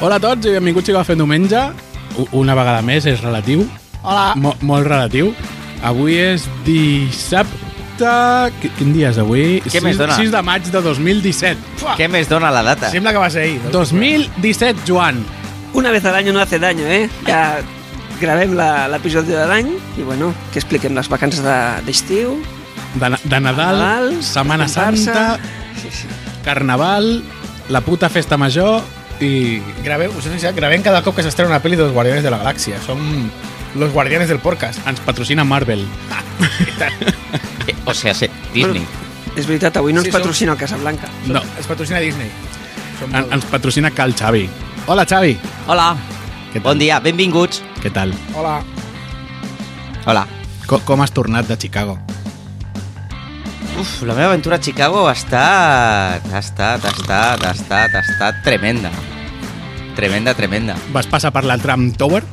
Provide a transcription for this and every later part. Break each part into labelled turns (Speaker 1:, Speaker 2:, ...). Speaker 1: Hola a tots i benvinguts Xico a Fent Diumenge. U- Una vegada més, és relatiu.
Speaker 2: Hola.
Speaker 3: Ah.
Speaker 1: Mo molt relatiu. Avui és dissabte... Qui- Quin dia és avui?
Speaker 3: Què més dona?
Speaker 1: 6 de maig de 2017.
Speaker 3: Què més dona la data?
Speaker 2: Sembla que va ser
Speaker 3: doncs,
Speaker 2: ahir.
Speaker 1: 2017, Joan.
Speaker 4: Una vez al año no hace daño, eh? Ja gravem la- l'episodi de l'any i, bueno, que expliquem les vacances de- d'estiu, de,
Speaker 1: De, na- de Nadal,
Speaker 4: Nadal,
Speaker 1: Setmana
Speaker 4: descansar-se.
Speaker 1: Santa,
Speaker 4: Sí, sí.
Speaker 1: Carnaval, la puta festa major i...
Speaker 2: Graveu, us he fixat, gravem cada cop que s'estrena una pel·li dels Guardianes de la Galàxia. Som los Guardianes del Podcast.
Speaker 1: Ens patrocina Marvel.
Speaker 3: Eh, O sea, sí, Disney.
Speaker 4: És veritat, avui no ens
Speaker 2: Sí,
Speaker 4: sí,
Speaker 2: som-
Speaker 4: patrocina el Casablanca.
Speaker 1: No,
Speaker 2: Es patrocina Disney. Som
Speaker 1: en, ens patrocina Cal Xavi. Hola, Xavi.
Speaker 3: Hola.
Speaker 1: Què tal?
Speaker 3: Bon dia, benvinguts.
Speaker 1: Què tal?
Speaker 2: Hola.
Speaker 3: Hola.
Speaker 1: Com, com has tornat de Chicago?
Speaker 3: Uf, la meva aventura a Chicago ha estat... Ha estat, ha estat, ha estat, ha estat tremenda. Tremenda, tremenda.
Speaker 1: Vas passar per la Trump Tower?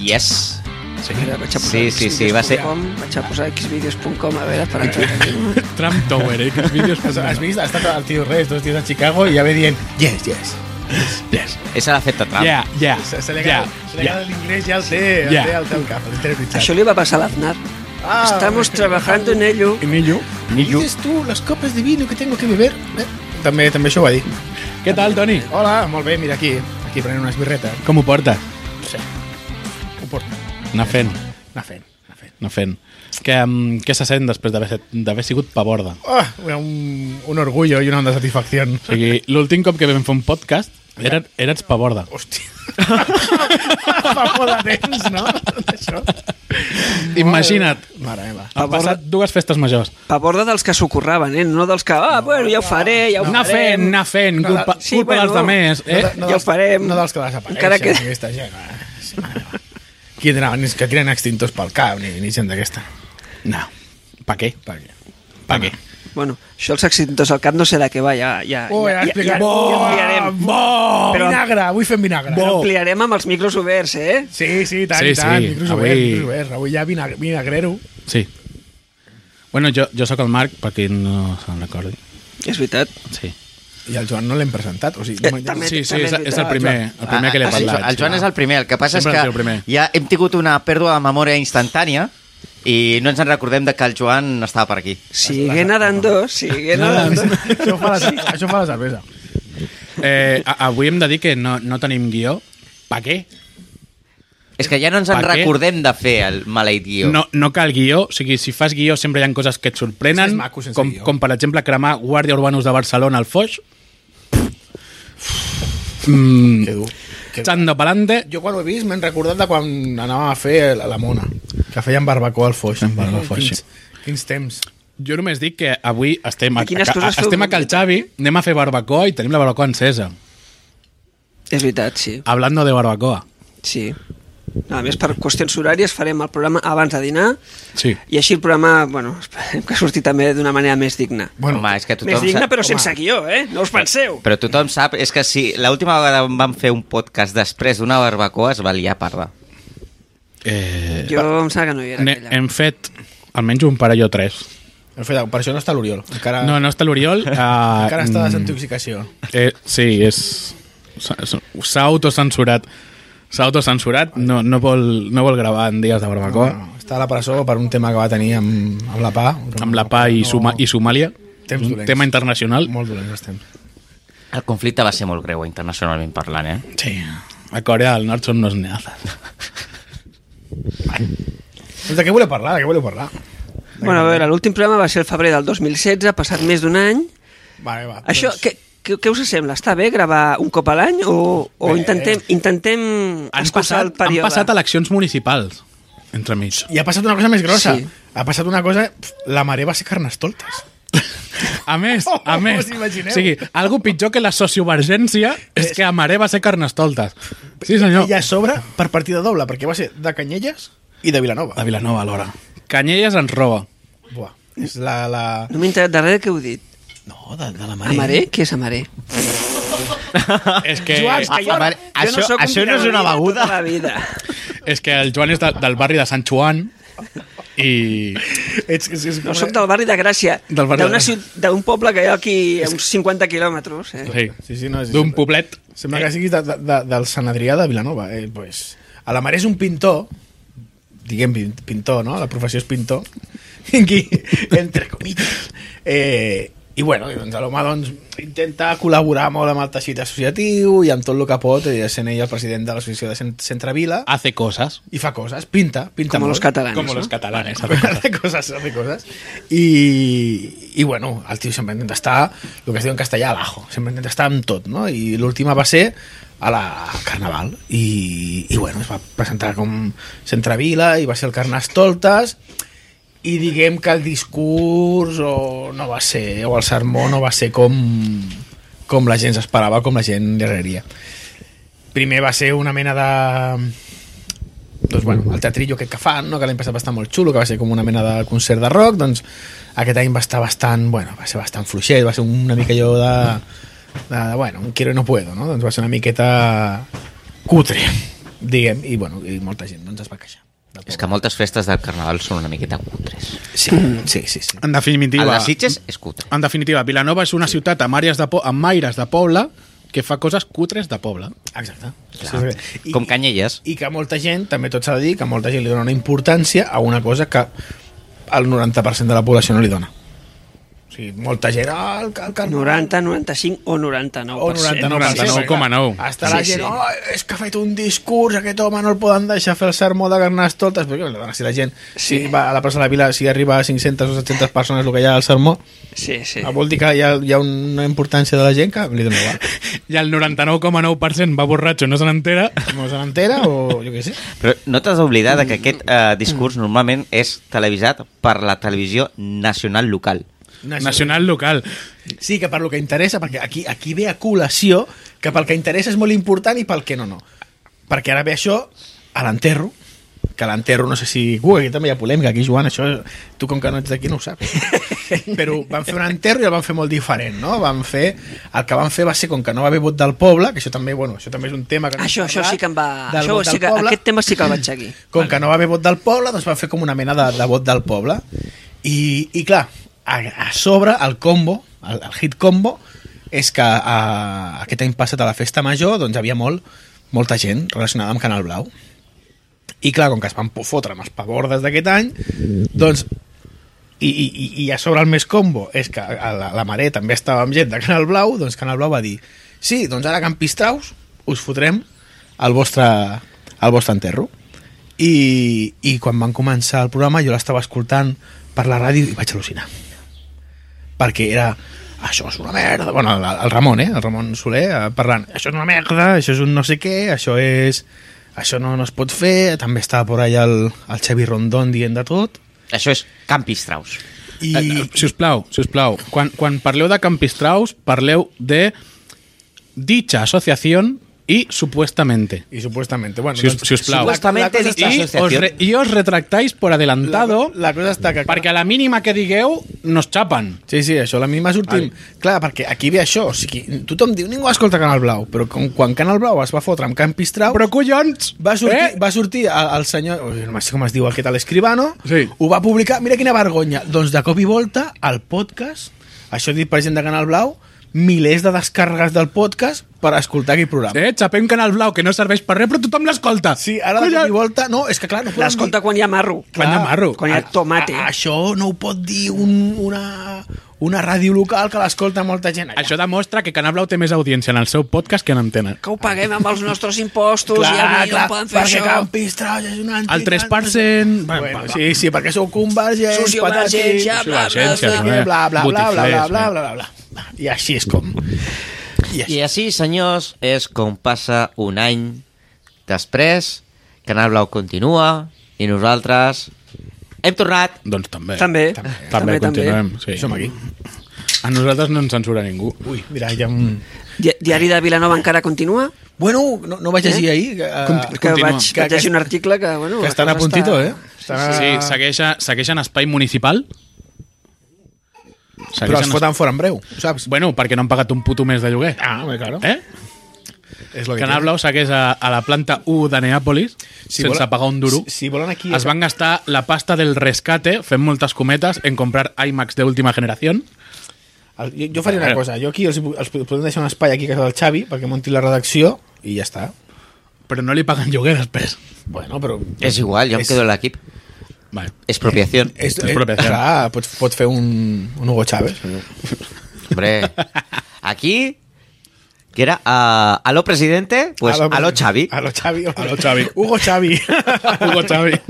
Speaker 3: Yes.
Speaker 1: Sí.
Speaker 4: Mira, vaig a posar
Speaker 3: Sí, sí, sí, va ser-
Speaker 4: xvideos.com, Vaig a posar xvideos.com, a veure, per aquí.
Speaker 1: Trump Tower, eh? Quins vídeos
Speaker 2: Has, has
Speaker 1: has vist?
Speaker 2: vist? Ha estat el tio Res dos dies a Chicago i ja ve dient yes, yes.
Speaker 1: Yes.
Speaker 3: Esa la feta Trump.
Speaker 1: Yeah, yeah,
Speaker 2: Se, se li
Speaker 1: yeah,
Speaker 2: agrada
Speaker 1: yeah.
Speaker 2: yeah. l'inglès, ja el té, el
Speaker 1: Yeah.
Speaker 2: té, el té al cap, el té pitjat.
Speaker 4: Això li va passar a l'Aznar.
Speaker 2: Ah,
Speaker 4: Estamos trabajando en ello.
Speaker 1: I Millo? Millo.
Speaker 2: Dices tu los copes de vino que tengo que beber? Eh? També, també això ho va dir.
Speaker 1: Què tal, Toni?
Speaker 2: Hola, molt bé, mira aquí, aquí prenent una esbirreta.
Speaker 1: Com ho portes?
Speaker 2: Ho porto.
Speaker 1: Anar fent,
Speaker 2: Anar fent, anar fent.
Speaker 1: anar fent. Què, mm, què se sent després d'haver set- d'haver sigut paborda?
Speaker 2: Oh, un, un orgullo i una onda de satisfacció.
Speaker 1: O sigui, l'últim cop que vam fer un podcast era, eres paborda.
Speaker 2: Hòstia. Fa molt de temps, no? Tot això.
Speaker 1: Imagina't,
Speaker 2: Mare meva.
Speaker 1: han
Speaker 4: Paborda-
Speaker 1: passat dues festes majors.
Speaker 4: A borda dels que s'ho curraven, eh? No dels que, ah, bueno, ja ho faré, ja ho
Speaker 1: Anar fent,
Speaker 4: farem.
Speaker 1: anar fent,
Speaker 2: eh, No,
Speaker 1: culpa,
Speaker 4: sí,
Speaker 1: culpa dels
Speaker 4: bueno.
Speaker 1: demés, eh?
Speaker 2: de-
Speaker 4: ja ho
Speaker 2: dels-
Speaker 4: farem.
Speaker 2: No dels que desapareixen,
Speaker 4: Encara que-
Speaker 2: aquesta gent. eh? Sí, mare meva. Qui tenen, és que tiren extintors pel cap, ni, ni gent d'aquesta.
Speaker 1: No. Pa què?
Speaker 2: Per què?
Speaker 1: Pa què?
Speaker 4: Bueno, això els accidents al cap no sé de què va, ja... Ah, ja,
Speaker 2: Oh, ja explicarem.
Speaker 4: ampliarem.
Speaker 1: Bo!
Speaker 4: Però-
Speaker 2: vinagre, avui fem vinagre.
Speaker 1: Bo.
Speaker 4: ampliarem amb els micros oberts, eh?
Speaker 2: Sí, sí, tant,
Speaker 1: Sí,
Speaker 2: sí, tant.
Speaker 1: sí,
Speaker 2: Sí. Micros
Speaker 1: avui-
Speaker 2: oberts, micros oberts. Avui ja vinagre, vinagrero.
Speaker 1: Sí. Bueno, jo, jo sóc el Marc, per qui no se'n recordi.
Speaker 4: És veritat.
Speaker 1: Sí.
Speaker 2: I el Joan no l'hem presentat. O sigui,
Speaker 4: Eh,
Speaker 2: no m'ha-
Speaker 4: també-
Speaker 1: Sí, sí,
Speaker 4: també
Speaker 1: és,
Speaker 4: és veritat.
Speaker 1: és el primer, el primer que li
Speaker 3: Ah,
Speaker 1: ha
Speaker 3: ah, sí,
Speaker 1: parlat.
Speaker 3: El Joan
Speaker 1: sí.
Speaker 3: és el primer. El que passa
Speaker 1: Sempre el teu
Speaker 3: és que
Speaker 1: primer.
Speaker 3: ja hem tingut una pèrdua de memòria instantània i no ens en recordem de que el Joan estava per aquí.
Speaker 4: Siguen nadando, siguen nadando.
Speaker 2: això, fa la, això fa la cervesa.
Speaker 1: Eh, a- avui hem de dir que no, no tenim guió. Per què?
Speaker 3: És que ja no ens en
Speaker 1: Per què?
Speaker 3: recordem de fer el maleït guió.
Speaker 1: No, no cal guió, o sigui, si fas guió sempre hi ha coses que et
Speaker 2: És que
Speaker 1: sorprenen,
Speaker 2: és maco sense
Speaker 1: com,
Speaker 2: guió.
Speaker 1: com per exemple cremar Guàrdia Urbanus de Barcelona al Foix. Mm,
Speaker 2: Que dur. Que dur.
Speaker 1: Chando Palante,
Speaker 2: Jo quan ho he vist m'he recordat de quan anàvem a fer la, la mona, que feien barbacoa al foix.
Speaker 1: Fem barbacoa,
Speaker 2: quins,
Speaker 1: sí.
Speaker 2: quins temps.
Speaker 1: jo només dic que avui estem a,
Speaker 4: I quines
Speaker 1: a, a,
Speaker 4: coses feu?
Speaker 1: estem a Cal Xavi, anem a fer barbacoa i tenim la barbacoa encesa.
Speaker 4: És veritat, sí.
Speaker 1: Hablando de barbacoa.
Speaker 4: sí. No, a més, per qüestions horàries farem el programa abans de dinar
Speaker 1: Sí.
Speaker 4: i així el programa, bueno, esperem que surti també d'una manera més digna.
Speaker 3: Bueno, Home, és que tothom
Speaker 4: més digna,
Speaker 3: sap-
Speaker 4: però
Speaker 2: home.
Speaker 4: sense guió, eh? No us penseu.
Speaker 3: Però tothom sap, és que si l'última vegada on vam fer un podcast després d'una barbacoa es va liar parda.
Speaker 1: Eh,
Speaker 4: Jo em sembla que no hi era
Speaker 1: ne,
Speaker 4: aquella.
Speaker 1: hem fet almenys un parell o tres.
Speaker 2: En fet, per això no està l'Oriol. Encara,
Speaker 1: No, no està l'Oriol. Uh,
Speaker 2: Ah. encara està de desintoxicació.
Speaker 1: Eh, sí, és... s'ha- S'ha autocensurat. S'ha autocensurat, no, no, vol, no vol gravar en dies de barbacoa.
Speaker 2: No, no, està a la presó per un tema que va tenir amb, amb la PA.
Speaker 1: Amb la PA i, Suma, i Somàlia.
Speaker 2: Temps
Speaker 1: un
Speaker 2: dolents.
Speaker 1: tema internacional.
Speaker 2: Molt dolents els temps.
Speaker 3: El conflicte va ser molt greu internacionalment parlant, eh?
Speaker 1: Sí. A Corea del Nord són unos neazas.
Speaker 2: Doncs de què voleu parlar? De què voleu parlar?
Speaker 4: Bueno, a veure, l'últim programa va ser el febrer del 2016, ha passat més d'un any.
Speaker 2: Vale, va,
Speaker 4: Això,
Speaker 2: doncs,
Speaker 4: què, què, què us sembla? Està bé gravar un cop a l'any o, o
Speaker 2: Bé.
Speaker 4: intentem, intentem
Speaker 1: Han
Speaker 4: escurçar
Speaker 1: passat,
Speaker 4: el
Speaker 1: han
Speaker 4: període?
Speaker 1: passat eleccions municipals entremig.
Speaker 2: I ha passat una cosa més grossa.
Speaker 4: Sí.
Speaker 2: Ha passat una cosa... pf, La marea va ser carnestoltes.
Speaker 1: A més,
Speaker 2: Oh,
Speaker 1: a més,
Speaker 2: us imagineu?
Speaker 1: o sigui, algo pitjor que la sociovergència és que Amaré va ser carnestoltes. Sí, senyor.
Speaker 2: I a sobre, per partida doble, perquè va ser de Canyelles i de Vilanova.
Speaker 1: De Vilanova, alhora. Canyelles ens roba.
Speaker 2: Buah, és la... la...
Speaker 4: No m'he enterat de res que heu dit.
Speaker 2: No, de, de la marea.
Speaker 4: Amaré? Què és amaré?
Speaker 1: És que,
Speaker 2: Joan, que jo-
Speaker 3: Amar-
Speaker 4: jo no
Speaker 3: això,
Speaker 4: sóc un
Speaker 3: això no és
Speaker 4: piragüita
Speaker 3: una beguda?
Speaker 4: Tota la vida.
Speaker 1: és que el Joan és de, del barri de Sant Joan I...
Speaker 2: Ets, és, és,
Speaker 4: No, soc del barri de Gràcia,
Speaker 1: Del barri de
Speaker 4: d'una
Speaker 1: Gràcia.
Speaker 4: ciut- d'un poble que hi ha aquí a uns 50 quilòmetres. Eh?
Speaker 1: Sí.
Speaker 2: Sí, sí, no, és-
Speaker 1: D'un poblet.
Speaker 2: Sembla que siguis de, de, de, del Sant Adrià de Vilanova. Eh, pues. A la mare és un pintor, diguem pin- pintor, no? La professió és pintor, Aquí, entre comites. Eh, I bueno, i doncs l'home doncs, intenta col·laborar molt amb el teixit associatiu i amb tot el que pot, eh, sent ell el president de l'associació de Cent Centre Vila,
Speaker 1: Hace cosas.
Speaker 2: i fa coses, pinta, pinta
Speaker 4: Com
Speaker 2: molt.
Speaker 4: los catalans.
Speaker 1: Como
Speaker 4: no?
Speaker 1: los catalanes. hace cosas.
Speaker 2: hace cosas, hace cosas. I, I bueno, el tio sempre intenta estar, el que es diu en castellà, abajo. Sempre intenta estar amb tot, no? I l'última va ser a la a Carnaval. I, I bueno, es va presentar com Centrevila i va ser el Carnestoltes i diguem que el discurs o no va ser, o el sermó no va ser com, com la gent s'esperava, com la gent li agrairia. Primer va ser una mena de doncs, bueno, el teatrillo aquest que fan, no? que l'any passat va estar molt xulo, que va ser com una mena de concert de rock, doncs aquest any va estar bastant, bueno, va ser bastant fluixet, va ser una mica allò de, de, de bueno, un quiero y no puedo, no? Doncs va ser una miqueta cutre, diguem, i, bueno, i molta gent doncs es va queixar. del
Speaker 3: És que
Speaker 2: poble.
Speaker 3: moltes festes del carnaval són una miqueta cutres.
Speaker 2: Sí, sí, sí. sí.
Speaker 1: En
Speaker 3: El
Speaker 1: definitiva,
Speaker 3: de Sitges és cutre.
Speaker 1: en definitiva, Vilanova és una ciutat amb, àrees de po amb aires de poble que fa coses cutres de poble.
Speaker 2: Exacte.
Speaker 3: Clar.
Speaker 2: Sí, sí. I-
Speaker 3: Com Canyelles.
Speaker 2: i que molta gent, també tot s'ha de dir, que molta gent li dona una importància a una cosa que el 90% de la població no li dona. O sigui, molta gent... Ah, el, el, el,
Speaker 4: 90, 95 o 99%.
Speaker 2: o 99,
Speaker 1: 99,9.
Speaker 2: Hasta la
Speaker 4: Sí,
Speaker 2: gent,
Speaker 4: sí.
Speaker 2: oh, és que ha fet un discurs, aquest home no el poden deixar fer el sermó de Carnestoltes, perquè bueno, si la gent sí.
Speaker 4: Sí.
Speaker 2: si va a la plaça de la Vila, si arriba a 500 o 700 persones el que hi ha al sermó,
Speaker 4: Sí,
Speaker 2: sí.
Speaker 4: sí.
Speaker 2: vol dir que hi ha, hi ha una importància de la gent que li dona igual.
Speaker 1: I el 99,9% va borratxo i no se n'entera.
Speaker 2: No se n'entera o jo què sé.
Speaker 3: Però no t'has d'oblidar de que aquest eh, discurs normalment és televisat per la televisió nacional local.
Speaker 1: Nacional local.
Speaker 2: Sí, que per lo que interessa, perquè aquí, aquí ve a col·lació que pel que interessa és molt important i pel que no, no. Perquè ara ve això a l'enterro, que a l'enterro no sé si... Ui, aquí també hi ha polèmica, aquí, Joan, això... Tu, com que no ets d'aquí, no ho saps. Però van fer un enterro i el van fer molt diferent, no? Van fer... El que van fer va ser, com que no va haver vot del poble, que això també, bueno, això també és un tema que... no hem
Speaker 4: Això, això
Speaker 2: parlat,
Speaker 4: sí que em va...
Speaker 2: del
Speaker 4: Això
Speaker 2: vot
Speaker 4: sí
Speaker 2: del
Speaker 4: que,
Speaker 2: poble
Speaker 4: aquest tema sí que el vaig seguir.
Speaker 2: com que no va haver vot del poble, doncs van fer com una mena de, de vot del poble. I, i clar, a, a sobre el combo, el, el hit combo, és que a, aquest any passat a la festa major doncs hi havia molt, molta gent relacionada amb Canal Blau. I clar, com que es van po- fotre amb els pavordes d'aquest any, doncs i, i, i- i a sobre el més combo és que a la, la Maré també estava amb gent de Canal Blau, doncs Canal Blau va dir sí, doncs ara Campistraus us fotrem al vostre, al vostre enterro. I, i quan van començar el programa jo l'estava escoltant per la ràdio i vaig al·lucinar perquè era això és una merda, bueno, el, el Ramon, eh? el Ramon Soler eh, parlant, això és una merda això és un no sé què, això és això no, no es pot fer, també estava por allà el, el Xavi Rondón dient de tot
Speaker 3: Això és Campistraus.
Speaker 2: i,
Speaker 1: I... Si us plau, si us plau, eh, quan, quan parleu de Campistraus, parleu de dicha asociación y supuestamente.
Speaker 2: i supuestament bueno, doncs,
Speaker 1: Si us, si us plau.
Speaker 2: la
Speaker 3: Supuestamente
Speaker 2: cosa
Speaker 3: dicha
Speaker 1: I os,
Speaker 3: asociación.
Speaker 1: re, I os retractáis por adelantado
Speaker 2: la, la cosa està que
Speaker 1: perquè a la mínima que digueu nos chapan.
Speaker 2: Sí, sí, això, la mínima sortim... Vale. Clar, perquè aquí ve això, o sigui, tothom diu ningú escolta Canal Blau, però com, quan Canal Blau es va fotre amb Campistrau...
Speaker 1: Però collons!
Speaker 2: va sortir, eh?
Speaker 1: Eh?
Speaker 2: va sortir el, el senyor, ui, no sé com es diu, el que tal escribano,
Speaker 1: Sí.
Speaker 2: ho va publicar, mira quina vergonya, doncs de cop i volta el podcast, això dit per gent de Canal Blau, milers de descàrregues del podcast per escoltar aquell programa.
Speaker 1: Eh, xapem Canal Blau, que no serveix per res, però tothom l'escolta.
Speaker 2: Sí, ara de cop i volta, no, és que clar, no poden
Speaker 4: L'escolta quan hi ha marro.
Speaker 1: Quan hi ha marro.
Speaker 4: Quan hi ha tomate.
Speaker 2: A, a, Ah, això no ho pot dir un, una, una ràdio local que l'escolta molta gent allà.
Speaker 1: Això demostra que Canal Blau té més audiència en el seu podcast que en antena.
Speaker 4: Que ho paguem amb els nostres impostos i avui no poden fer
Speaker 2: perquè
Speaker 4: això.
Speaker 2: Campistrau és una entitat...
Speaker 1: El 3%...
Speaker 2: Bueno, sí, sí, perquè sou convergents,
Speaker 4: Socio emergència, bla, bla,
Speaker 1: Sociovergència,
Speaker 4: bla.
Speaker 1: també.
Speaker 2: bla, bla, bla, bla, bla, bla,
Speaker 1: Botiflers,
Speaker 2: bla,
Speaker 1: eh?
Speaker 2: bla, bla, bla. I així és com. I
Speaker 3: I
Speaker 2: així.
Speaker 3: així, senyors, és com passa un any després, Canal Blau continua i nosaltres hem tornat.
Speaker 1: Doncs també.
Speaker 4: També.
Speaker 1: També, continuem. Sí.
Speaker 2: Som aquí.
Speaker 1: A nosaltres no ens censura ningú.
Speaker 2: Ui, mira, ja... Un...
Speaker 4: Di- Diari de Vilanova encara continua?
Speaker 2: Bueno, no, no vaig llegir ahir... Que,
Speaker 4: Que
Speaker 2: eh,
Speaker 1: Continua.
Speaker 4: vaig,
Speaker 2: Que-
Speaker 4: vaig llegir un article que, bueno...
Speaker 2: que
Speaker 4: la
Speaker 2: estan a
Speaker 4: cosa
Speaker 2: puntito,
Speaker 4: està-
Speaker 2: eh? Estan
Speaker 1: Sí,
Speaker 2: a-
Speaker 1: segueix, a- segueix en espai municipal. Segueix
Speaker 2: Però es
Speaker 1: en
Speaker 2: foten fora en breu, ho saps?
Speaker 1: Bueno, perquè no han pagat un puto mes de lloguer.
Speaker 2: Ah, bé, claro.
Speaker 1: Eh?
Speaker 2: És lo que
Speaker 1: Canal
Speaker 2: té.
Speaker 1: Blau s'hagués a, a la planta 1 de Neàpolis
Speaker 2: Si
Speaker 1: sense
Speaker 2: volen-
Speaker 1: pagar un duro.
Speaker 2: Si, si volen aquí...
Speaker 1: Es van gastar la pasta del rescate, fent moltes cometes, en comprar IMAX de última generació.
Speaker 2: El, jo, jo
Speaker 1: Eh.
Speaker 2: faria una cosa, jo aquí els, els podem deixar un espai aquí a casa del Xavi perquè munti la redacció i ja està.
Speaker 1: Però no li paguen lloguer després.
Speaker 2: Bueno, però...
Speaker 3: Es igual, yo me
Speaker 2: Es-
Speaker 3: quedo en el equipo.
Speaker 1: Vale.
Speaker 3: Expropiación.
Speaker 2: És,
Speaker 1: És
Speaker 2: és,
Speaker 1: propietari.
Speaker 2: clar, pots, pots fer un, un Hugo Chávez.
Speaker 3: Hombre. Aquí, que era a, a lo presidente, pues a lo, Xavi.
Speaker 2: A lo Xavi. A
Speaker 1: lo Xavi.
Speaker 2: Hugo Xavi.
Speaker 1: Hugo Xavi.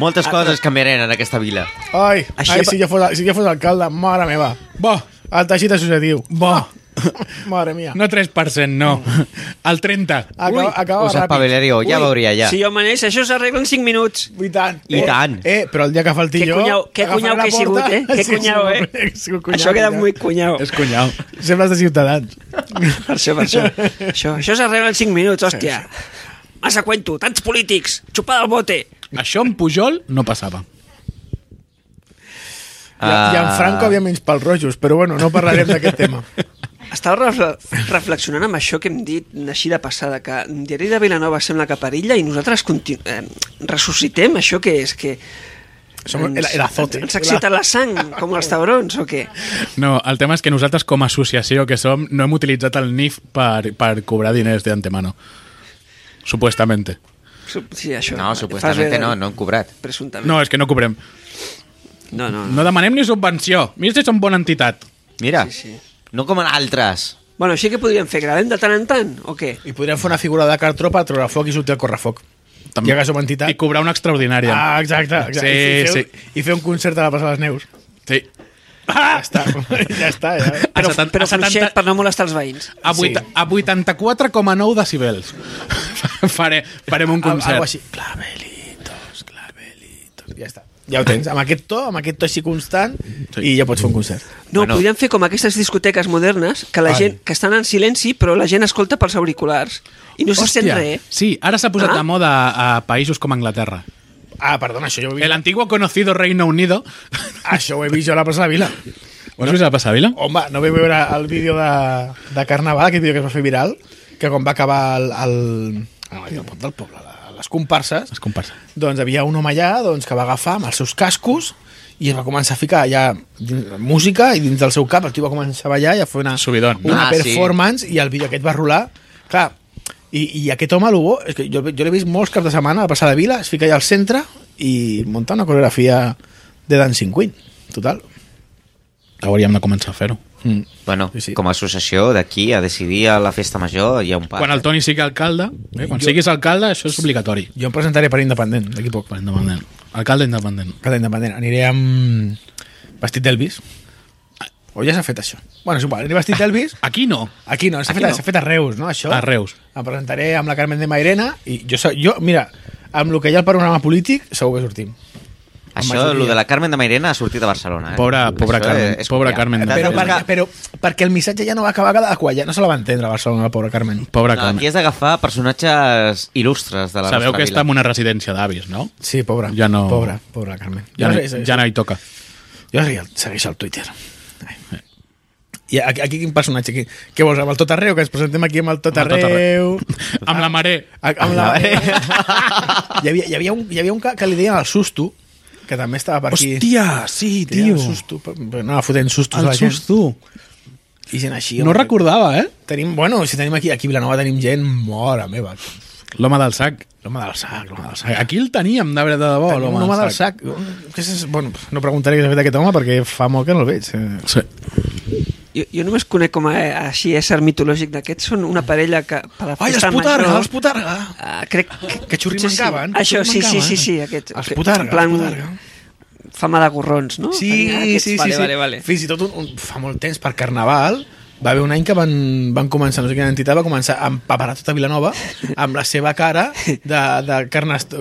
Speaker 3: Moltes coses canviaran en aquesta vila.
Speaker 2: Ai,
Speaker 3: Així
Speaker 2: ai
Speaker 3: pa-
Speaker 2: si, jo fos, si jo fos alcalde, mare meva.
Speaker 1: Bo,
Speaker 2: El teixit associatiu.
Speaker 1: bo.
Speaker 2: Mare mia.
Speaker 1: No 3%, no. El 30.
Speaker 2: Acaba,
Speaker 3: Ui,
Speaker 2: acaba
Speaker 3: us
Speaker 2: ràpid.
Speaker 3: espavilareu, ja
Speaker 4: Ui,
Speaker 3: veuria, ja.
Speaker 4: Si jo manés, això s'arregla en 5 minuts.
Speaker 2: I tant.
Speaker 3: I
Speaker 2: eh,
Speaker 3: tant.
Speaker 2: Eh, però el dia que falti
Speaker 4: Qué
Speaker 2: jo...
Speaker 4: cunyau- qué
Speaker 2: agafaré
Speaker 4: cunyau
Speaker 2: la
Speaker 4: que he
Speaker 2: porta.
Speaker 4: sigut, eh? Qué cunyau, eh?
Speaker 2: he sigut cunyau,
Speaker 4: això queda
Speaker 2: cunyau.
Speaker 4: molt cunyau.
Speaker 1: És cunyau.
Speaker 2: Sembles de Ciutadans.
Speaker 4: Per això, per això. Això, això s'arregla en 5 minuts, hòstia. Massa cuento, tants polítics, xupada al bote.
Speaker 1: Això amb Pujol no passava.
Speaker 3: Ah.
Speaker 2: I, I en Franco havia menys pels rojos, però bueno, no parlarem d'aquest tema.
Speaker 4: Estava refle reflexionant amb això que hem dit així de passada, que Diari de Vilanova sembla que perilla i nosaltres continu- eh, ressuscitem això que és que
Speaker 2: Som el, el azote.
Speaker 4: ens excita la sang, com els taurons, o què?
Speaker 1: No, el tema és que nosaltres com a associació que som no hem utilitzat el NIF per, per cobrar diners de antemano. Supuestamente.
Speaker 4: Su- Sí, això.
Speaker 3: No, supuestamente
Speaker 4: Fas bé de-
Speaker 3: no, no han cobrat.
Speaker 4: Presumptament.
Speaker 1: No, és que no cobrem.
Speaker 4: no, no. no.
Speaker 1: No demanem ni subvenció. Mira si som bona entitat.
Speaker 3: Mira,
Speaker 4: Sí, sí.
Speaker 3: no com en altres.
Speaker 4: Bueno, així que podríem fer gravem de tant en tant, o què?
Speaker 2: I podríem fer una figura de cartró per treure foc i sortir al correfoc.
Speaker 1: També.
Speaker 2: Ja que som entitat.
Speaker 1: I cobrar una extraordinària.
Speaker 2: Ah, exacte. exacte. I,
Speaker 1: Sí,
Speaker 2: fer, I fer un concert a la Passa de les Neus.
Speaker 1: Sí.
Speaker 2: Ah! Ja està. ja està, ja.
Speaker 1: A
Speaker 4: Però,
Speaker 1: setan-
Speaker 4: però
Speaker 1: a setanta-
Speaker 4: fluixet per no molestar els veïns.
Speaker 1: A, vuit,
Speaker 2: Sí.
Speaker 1: a 84,9 decibels. Fare, farem un concert.
Speaker 2: Algo així. Clavelitos, clavelitos. Ja està. Ja ho tens. Amb aquest to, amb aquest to així constant, sí. i ja pots fer un concert.
Speaker 4: No,
Speaker 3: Bueno.
Speaker 4: bueno. podríem fer com aquestes discoteques modernes que la
Speaker 2: Ai.
Speaker 4: gent que estan en silenci però la gent escolta pels auriculars i no se sent eh? res.
Speaker 1: Sí, ara s'ha posat
Speaker 4: Ah.
Speaker 1: de moda a països com Anglaterra.
Speaker 2: Ah, perdona, això jo ho he
Speaker 1: El
Speaker 2: vist,
Speaker 1: antiguo conocido Reino Unido.
Speaker 2: això ho he vist jo a la plaça de la Vila.
Speaker 1: Ho has vist a la passavila?
Speaker 2: Home, no vaig veure el vídeo de, de Carnaval, aquest vídeo que es va fer viral, que quan va acabar el... el... No, el pot del poble, la- les comparses,
Speaker 1: Es comparsa.
Speaker 2: doncs havia un home allà doncs, que va agafar amb els seus cascos i es va començar a ficar allà dins- música i dins del seu cap el tio va començar a ballar i a fer una,
Speaker 1: Subidón, no?
Speaker 2: una
Speaker 3: Ah, sí.
Speaker 2: performance sí. i el vídeo aquest va rolar clar, i, i aquest home l'Hugo, és que jo, jo l'he vist molts caps de setmana a passar la vila, es fica allà al centre i munta una coreografia de Dancing Queen, total
Speaker 1: Hauríem de començar a fer-ho.
Speaker 2: mm.
Speaker 3: Bueno,
Speaker 2: Sí, sí.
Speaker 3: com a associació d'aquí a decidir a la festa major hi ha un pas.
Speaker 1: Quan el Toni sigui alcalde, eh, quan
Speaker 2: Jo-
Speaker 1: siguis alcalde, això és obligatori.
Speaker 2: jo em presentaré per independent d'aquí a poc
Speaker 1: Per independent. Alcalde independent.
Speaker 2: cada independent, aniré amb vestit d'Elvis o ja s'ha fet això bueno, és igual, aniré vestit d'Elvis
Speaker 1: Aquí no.
Speaker 2: Aquí no, s'ha
Speaker 1: Aquí
Speaker 2: fet,
Speaker 1: no.
Speaker 2: no. fet a Reus, no, això?
Speaker 1: A Reus.
Speaker 2: Em presentaré amb la Carmen de Mairena i jo, so- jo mira, amb el que hi ha al panorama polític segur que sortim.
Speaker 3: Això,
Speaker 2: majoria.
Speaker 3: el de la Carmen de Mairena ha sortit a Barcelona. Eh?
Speaker 1: Pobra- pobra
Speaker 3: Això
Speaker 1: Carmen,
Speaker 3: és- és
Speaker 1: pobra
Speaker 3: copiar.
Speaker 1: Carmen de
Speaker 3: T'has
Speaker 2: Però,
Speaker 1: Mairena.
Speaker 2: perquè,
Speaker 3: d'agafar-
Speaker 2: però perquè el missatge ja no va acabar cada qual, ja no se la va entendre a Barcelona, la pobra Carmen.
Speaker 1: Pobre
Speaker 3: No, aquí
Speaker 1: Carme.
Speaker 3: has d'agafar personatges il·lustres de la
Speaker 1: Sabeu
Speaker 3: nostra
Speaker 1: que
Speaker 3: vila.
Speaker 1: està en una residència d'avis, no?
Speaker 2: Sí, pobra.
Speaker 1: Ja no-
Speaker 2: Pobra, pobra Carmen.
Speaker 1: Ja no,
Speaker 2: sé, sé,
Speaker 1: ja no hi toca.
Speaker 2: Jo segueix, segueix el Twitter. Ai. I aquí, aquí quin personatge? Qui, què vols, amb el Tot Arreu? Que ens presentem aquí amb el Tot
Speaker 1: Amb el Tot
Speaker 2: Arreu.
Speaker 1: Amb la mare.
Speaker 2: A- Amb la... hi, havia, hi, havia un, hi havia un que, que li deien el Susto, que també estava per aquí.
Speaker 1: sí,
Speaker 2: Que era el susto, però- però anava fotent sustos a la gent. I gent així,
Speaker 1: No
Speaker 2: home.
Speaker 1: recordava, eh?
Speaker 2: Tenim, bueno, si tenim aquí, aquí a Vilanova tenim gent, mora meva.
Speaker 1: L'home del sac.
Speaker 2: L'home del sac, l'home del sac.
Speaker 1: Aquí el teníem, de veritat de debò,
Speaker 2: Tenim un
Speaker 1: l'home
Speaker 2: home
Speaker 1: del
Speaker 2: del
Speaker 1: sac.
Speaker 2: sac. Que és, bueno, no preguntaré què s'ha fet aquest home perquè fa molt que no el veig. Eh,
Speaker 1: Sí.
Speaker 4: Jo, jo només conec com a, així ésser mitològic d'aquests. Són una parella que per la
Speaker 2: Ai, els
Speaker 4: festa
Speaker 2: Putarga,
Speaker 4: major-
Speaker 2: els Putarga!
Speaker 4: Ah, crec que...
Speaker 2: Que xurri
Speaker 4: potser sí.
Speaker 2: mancaven. que
Speaker 4: Això,
Speaker 2: xurri
Speaker 4: sí, sí,
Speaker 2: mancaven.
Speaker 4: sí, sí. Aquest,
Speaker 2: Els
Speaker 4: que-
Speaker 2: Putarga,
Speaker 4: en plan,
Speaker 2: els Putarga.
Speaker 4: Fama de gorrons, no?
Speaker 2: Sí,
Speaker 4: Tenia aquests-
Speaker 2: sí, sí,
Speaker 4: Oh, vale,
Speaker 2: sí.
Speaker 4: Vale, vale.
Speaker 2: Fins i tot un, un, fa molt temps per Carnaval va haver un any que van, van començar, no sé quina entitat, va començar a empaparar tota Vilanova amb la seva cara de, de carnest...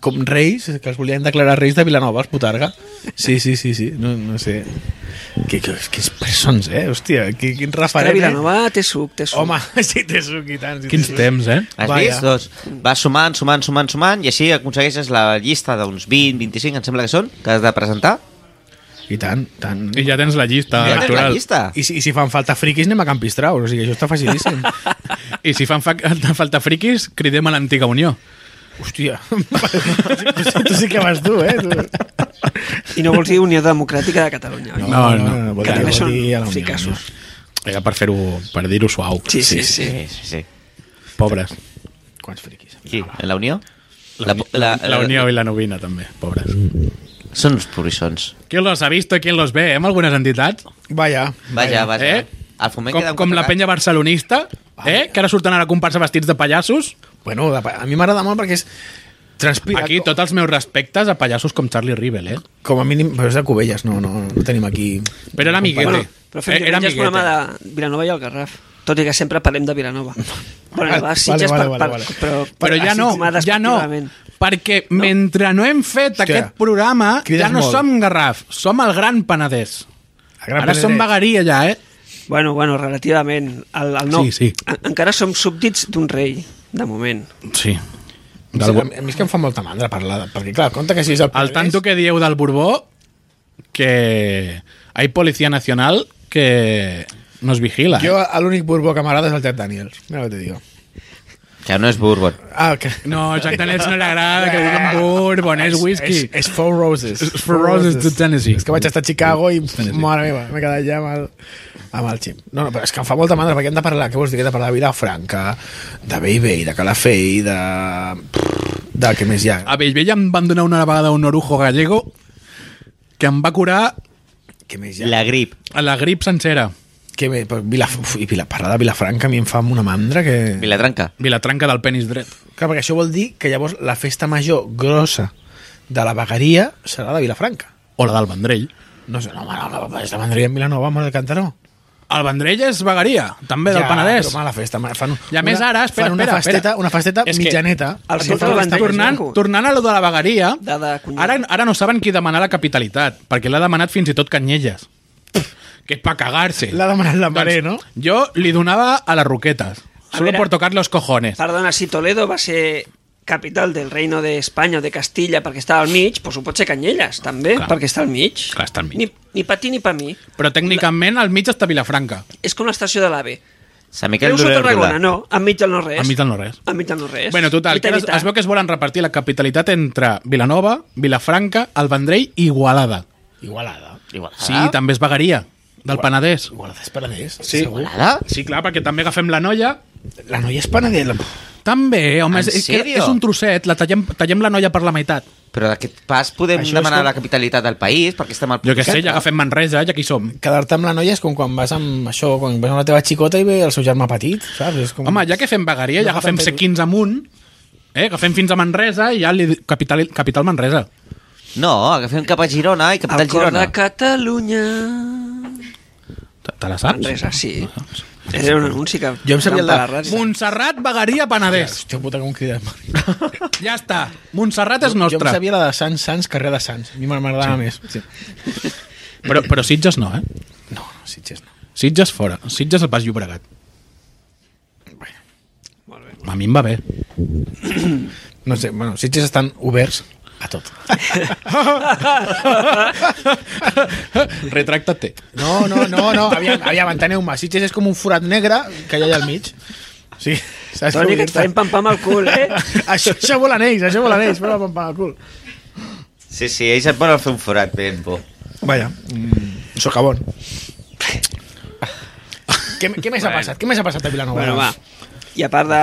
Speaker 2: com reis, que els volien declarar reis de Vilanova, els putarga. Sí, sí, sí, sí, no, no sé. Que, que, quins persons, eh? Hòstia, qui, quin
Speaker 4: Ara
Speaker 2: referent, eh?
Speaker 4: Vilanova té suc, té suc.
Speaker 2: Home, sí, té suc i tant. Sí, té
Speaker 1: Quins
Speaker 2: suc.
Speaker 1: temps, eh?
Speaker 3: Has
Speaker 2: Vaja.
Speaker 3: vist? Doncs vas sumant, sumant, sumant, sumant i així aconsegueixes la llista d'uns 20, 25, em sembla que són, que has de presentar.
Speaker 2: I tant, tant.
Speaker 1: I ja tens la llista
Speaker 3: Ja tens la
Speaker 1: electoral.
Speaker 3: llista.
Speaker 2: I si, i si fan falta friquis, anem a Campistrau. O sigui, això està facilíssim.
Speaker 1: I si fan fa falta friquis, cridem a l'antiga Unió.
Speaker 2: Hòstia. tu sí que vas tu, eh? Tu.
Speaker 4: I no vols dir Unió Democràtica de Catalunya, oi?
Speaker 1: No, no,
Speaker 2: vol
Speaker 4: que
Speaker 2: Ah, dir-
Speaker 4: també
Speaker 2: vol
Speaker 4: són
Speaker 2: dir a la Unió.
Speaker 4: fricassos.
Speaker 1: Era per fer-ho, per dir-ho suau.
Speaker 4: Sí, sí, sí.
Speaker 3: Sí, sí, sí.
Speaker 1: Pobres.
Speaker 2: Quants friquis?
Speaker 3: Qui? En la Unió?
Speaker 1: La, la, la Unió i la Novina, també. Pobres.
Speaker 3: Són uns purissons.
Speaker 1: Qui los ha visto, qui los ve? Hem algunes entitats?
Speaker 2: Vaja.
Speaker 3: Vaja, vaja.
Speaker 1: Eh?
Speaker 3: El foment
Speaker 1: Com,
Speaker 3: queda un
Speaker 1: com la
Speaker 3: català.
Speaker 1: penya barcelonista, eh? que ara surten a la comparsa vestits de pallassos.
Speaker 2: Eh, Bueno, de pa- a mi m'agrada molt perquè és... Transpira
Speaker 1: Aquí tots els meus respectes a pallassos com Charlie Rivel, eh?
Speaker 2: Com a mínim, però és de Cubelles, no, no, no tenim aquí...
Speaker 1: Però era amiguete.
Speaker 4: Bueno, però fem
Speaker 1: Eh, era
Speaker 4: diumenge el
Speaker 1: amiguete.
Speaker 4: programa de Vilanova i el Garraf. Tot i que sempre parlem de Vilanova. Bueno,
Speaker 2: Vale,
Speaker 4: va, Sitges
Speaker 2: vale,
Speaker 4: per,
Speaker 2: vale,
Speaker 4: per,
Speaker 2: vale.
Speaker 4: però,
Speaker 1: Però ja
Speaker 4: a
Speaker 1: no,
Speaker 4: Sitges,
Speaker 1: ja no.
Speaker 4: despectivament.
Speaker 1: Perquè mentre no hem fet aquest programa,
Speaker 2: Crides
Speaker 1: ja no
Speaker 2: molt.
Speaker 1: som Garraf, som el Gran Penedès.
Speaker 2: A Gran
Speaker 1: Ara som
Speaker 2: Penedès.
Speaker 1: Bagaria, ja, eh?
Speaker 4: Bueno, bueno, relativament. El, el no.
Speaker 1: Sí, sí.
Speaker 4: En- Encara som súbdits d'un rei, de moment.
Speaker 1: Sí.
Speaker 2: Sí, a, mi- a mi és que em fa molta mandra parlar, perquè clar, compte que si és el
Speaker 1: Al tanto que dieu del Borbó que hay policía nacional que nos vigila. eh.
Speaker 2: Jo a l'únic Borbó que m'agrada és el Jack Daniels, mira què te digo.
Speaker 3: Que no és Bourbon.
Speaker 2: Ah, que...
Speaker 1: No, Jack Daniels no le agrada, que digan bourbon, es whisky.
Speaker 2: És, és Four Roses.
Speaker 1: És Four Roses to Tennessee.
Speaker 2: És que vaig estar a Chicago i, pff,
Speaker 1: Tennessee.
Speaker 2: mare meva, m'he quedat ja amb el, amb el xip. No, no, però és que em fa molta mandra, perquè hem de parlar, què vols dir, que hem de parlar de Vilafranca, de Bellvei, de Calafell, de... de què més hi ha?
Speaker 1: A Bellvella em van donar una vegada un orujo gallego que em va curar
Speaker 2: Què més hi ha?
Speaker 3: La grip.
Speaker 1: a la grip sencera.
Speaker 2: Que bé, però Vila, uf, i Vila, parlar de Vilafranca a mi em fa una mandra que...
Speaker 1: Eh.
Speaker 3: Vilatranca.
Speaker 1: Vilatranca del penis dret.
Speaker 2: Clar, perquè això vol dir que llavors la festa major grossa de la vegueria serà de Vilafranca.
Speaker 1: O la del Vendrell.
Speaker 2: No sé, no, home, no, no, és la mandria en Vilanova, amb el Cantaró.
Speaker 1: El Vendrell és vegueria, també del Penedès.
Speaker 2: Però mala festa. ma- Fan,
Speaker 1: I a més ara, espera,
Speaker 2: fan una
Speaker 1: espera,
Speaker 2: festeta,
Speaker 1: espera.
Speaker 2: una festeta
Speaker 1: És que
Speaker 2: mitjaneta.
Speaker 4: el
Speaker 2: Perquè
Speaker 4: sol
Speaker 2: fan
Speaker 4: del
Speaker 2: festa-
Speaker 4: Vendrell-
Speaker 1: Tornant,
Speaker 4: maco.
Speaker 1: tornant a lo de la vegueria,
Speaker 4: Dada, cunyada.
Speaker 1: ara, ara no saben qui demanar la capitalitat, perquè l'ha demanat fins i tot Canyelles. Que és pa cagar-se.
Speaker 2: L'ha demanat
Speaker 1: Doncs
Speaker 2: la mare, no?
Speaker 1: Jo li donava a les roquetes.
Speaker 4: A
Speaker 1: Solo
Speaker 4: veure-
Speaker 1: por tocar los cojones.
Speaker 4: Perdona, si Toledo va ser capital del reino de Espanya o de Castilla perquè estava al mig, doncs ho pot ser Canyelles, també,
Speaker 1: Clar.
Speaker 4: perquè està al mig.
Speaker 1: Clar, està al mig.
Speaker 4: Ni, ni per ti ni per mi.
Speaker 1: Però tècnicament al mig està Vilafranca.
Speaker 4: És com l'estació de l'AVE.
Speaker 3: Sant Miquel
Speaker 4: Creus o
Speaker 3: d'Olor
Speaker 4: Tarragona?
Speaker 3: d'Olor.
Speaker 4: No, enmig del no-res.
Speaker 1: Enmig del no-res.
Speaker 4: Enmig del no-res.
Speaker 1: Bueno, total, que
Speaker 4: Mitat,
Speaker 1: ara es,
Speaker 4: mitat.
Speaker 1: es veu que es volen repartir la capitalitat entre Vilanova, Vilafranca, el Vendrell i Igualada.
Speaker 2: Igualada.
Speaker 3: Igualada?
Speaker 1: Sí, també és vegueria, del Penedès.
Speaker 2: Igualada és Penedès, sí. segur.
Speaker 3: Igualada?
Speaker 1: Sí, clar, perquè també agafem la noia.
Speaker 2: La noia és Penedès. la-
Speaker 1: També, home,
Speaker 3: En
Speaker 1: és, és, que
Speaker 3: sèrio?
Speaker 1: és un trosset, la tallem, tallem la noia per la meitat.
Speaker 3: Però d'aquest pas podem
Speaker 2: Això és
Speaker 3: demanar
Speaker 2: com-
Speaker 3: la capitalitat del país, perquè estem al...
Speaker 1: Jo què
Speaker 3: punt
Speaker 1: sé,
Speaker 3: centre.
Speaker 1: ja agafem Manresa, ja aquí som.
Speaker 2: Quedar-te amb la noia és com quan vas amb això, quan vas amb la teva xicota i ve el seu germà petit, saps? És com...
Speaker 1: Home, ja que fem vegueria, ja
Speaker 2: No fa
Speaker 1: agafem
Speaker 2: tant de-
Speaker 1: C15 amunt, eh? agafem fins a Manresa i ja li... capital, capital Manresa.
Speaker 3: No, agafem cap a Girona i
Speaker 4: El
Speaker 3: capital
Speaker 4: cor
Speaker 3: Girona.
Speaker 4: de Catalunya...
Speaker 1: Te, te la saps?
Speaker 4: Doncs Res, ah, sí. Era un anunci que...
Speaker 2: Jo em sabia
Speaker 4: que
Speaker 2: el de-
Speaker 4: va a la ràdio.
Speaker 1: Montserrat, vegueria, Penedès.
Speaker 2: Hòstia puta, com crida.
Speaker 1: Ja està. Montserrat és
Speaker 2: Jo em
Speaker 1: nostra.
Speaker 2: sabia la de Sants, Sants, carrer de Sants. A mi m'agradava sí. més. Sí.
Speaker 1: Però, però Sitges no, eh?
Speaker 2: No, no, Sitges no.
Speaker 1: Sitges fora. Sitges al Pas Llobregat. A mi em va bé.
Speaker 2: No sé, bueno, Sitges estan oberts a tot.
Speaker 1: Retracta't.
Speaker 2: No, no, no, no, aviam, aviam enteneu-me. Sitges és com un forat negre que hi ha allà al mig. Sí, saps
Speaker 4: Toni,
Speaker 2: vull
Speaker 4: que et
Speaker 2: dir-te?
Speaker 4: farem pam-pam al cul, eh?
Speaker 2: Això, això volen ells, això volen ells, però pam, pam, al cul.
Speaker 3: Sí, sí, ells et volen fer un forat ben bo.
Speaker 2: Vaja, mm, socavón. Què, què més ha passat? Què més ha passat a Vilanova?
Speaker 4: Bueno, va. I a part de...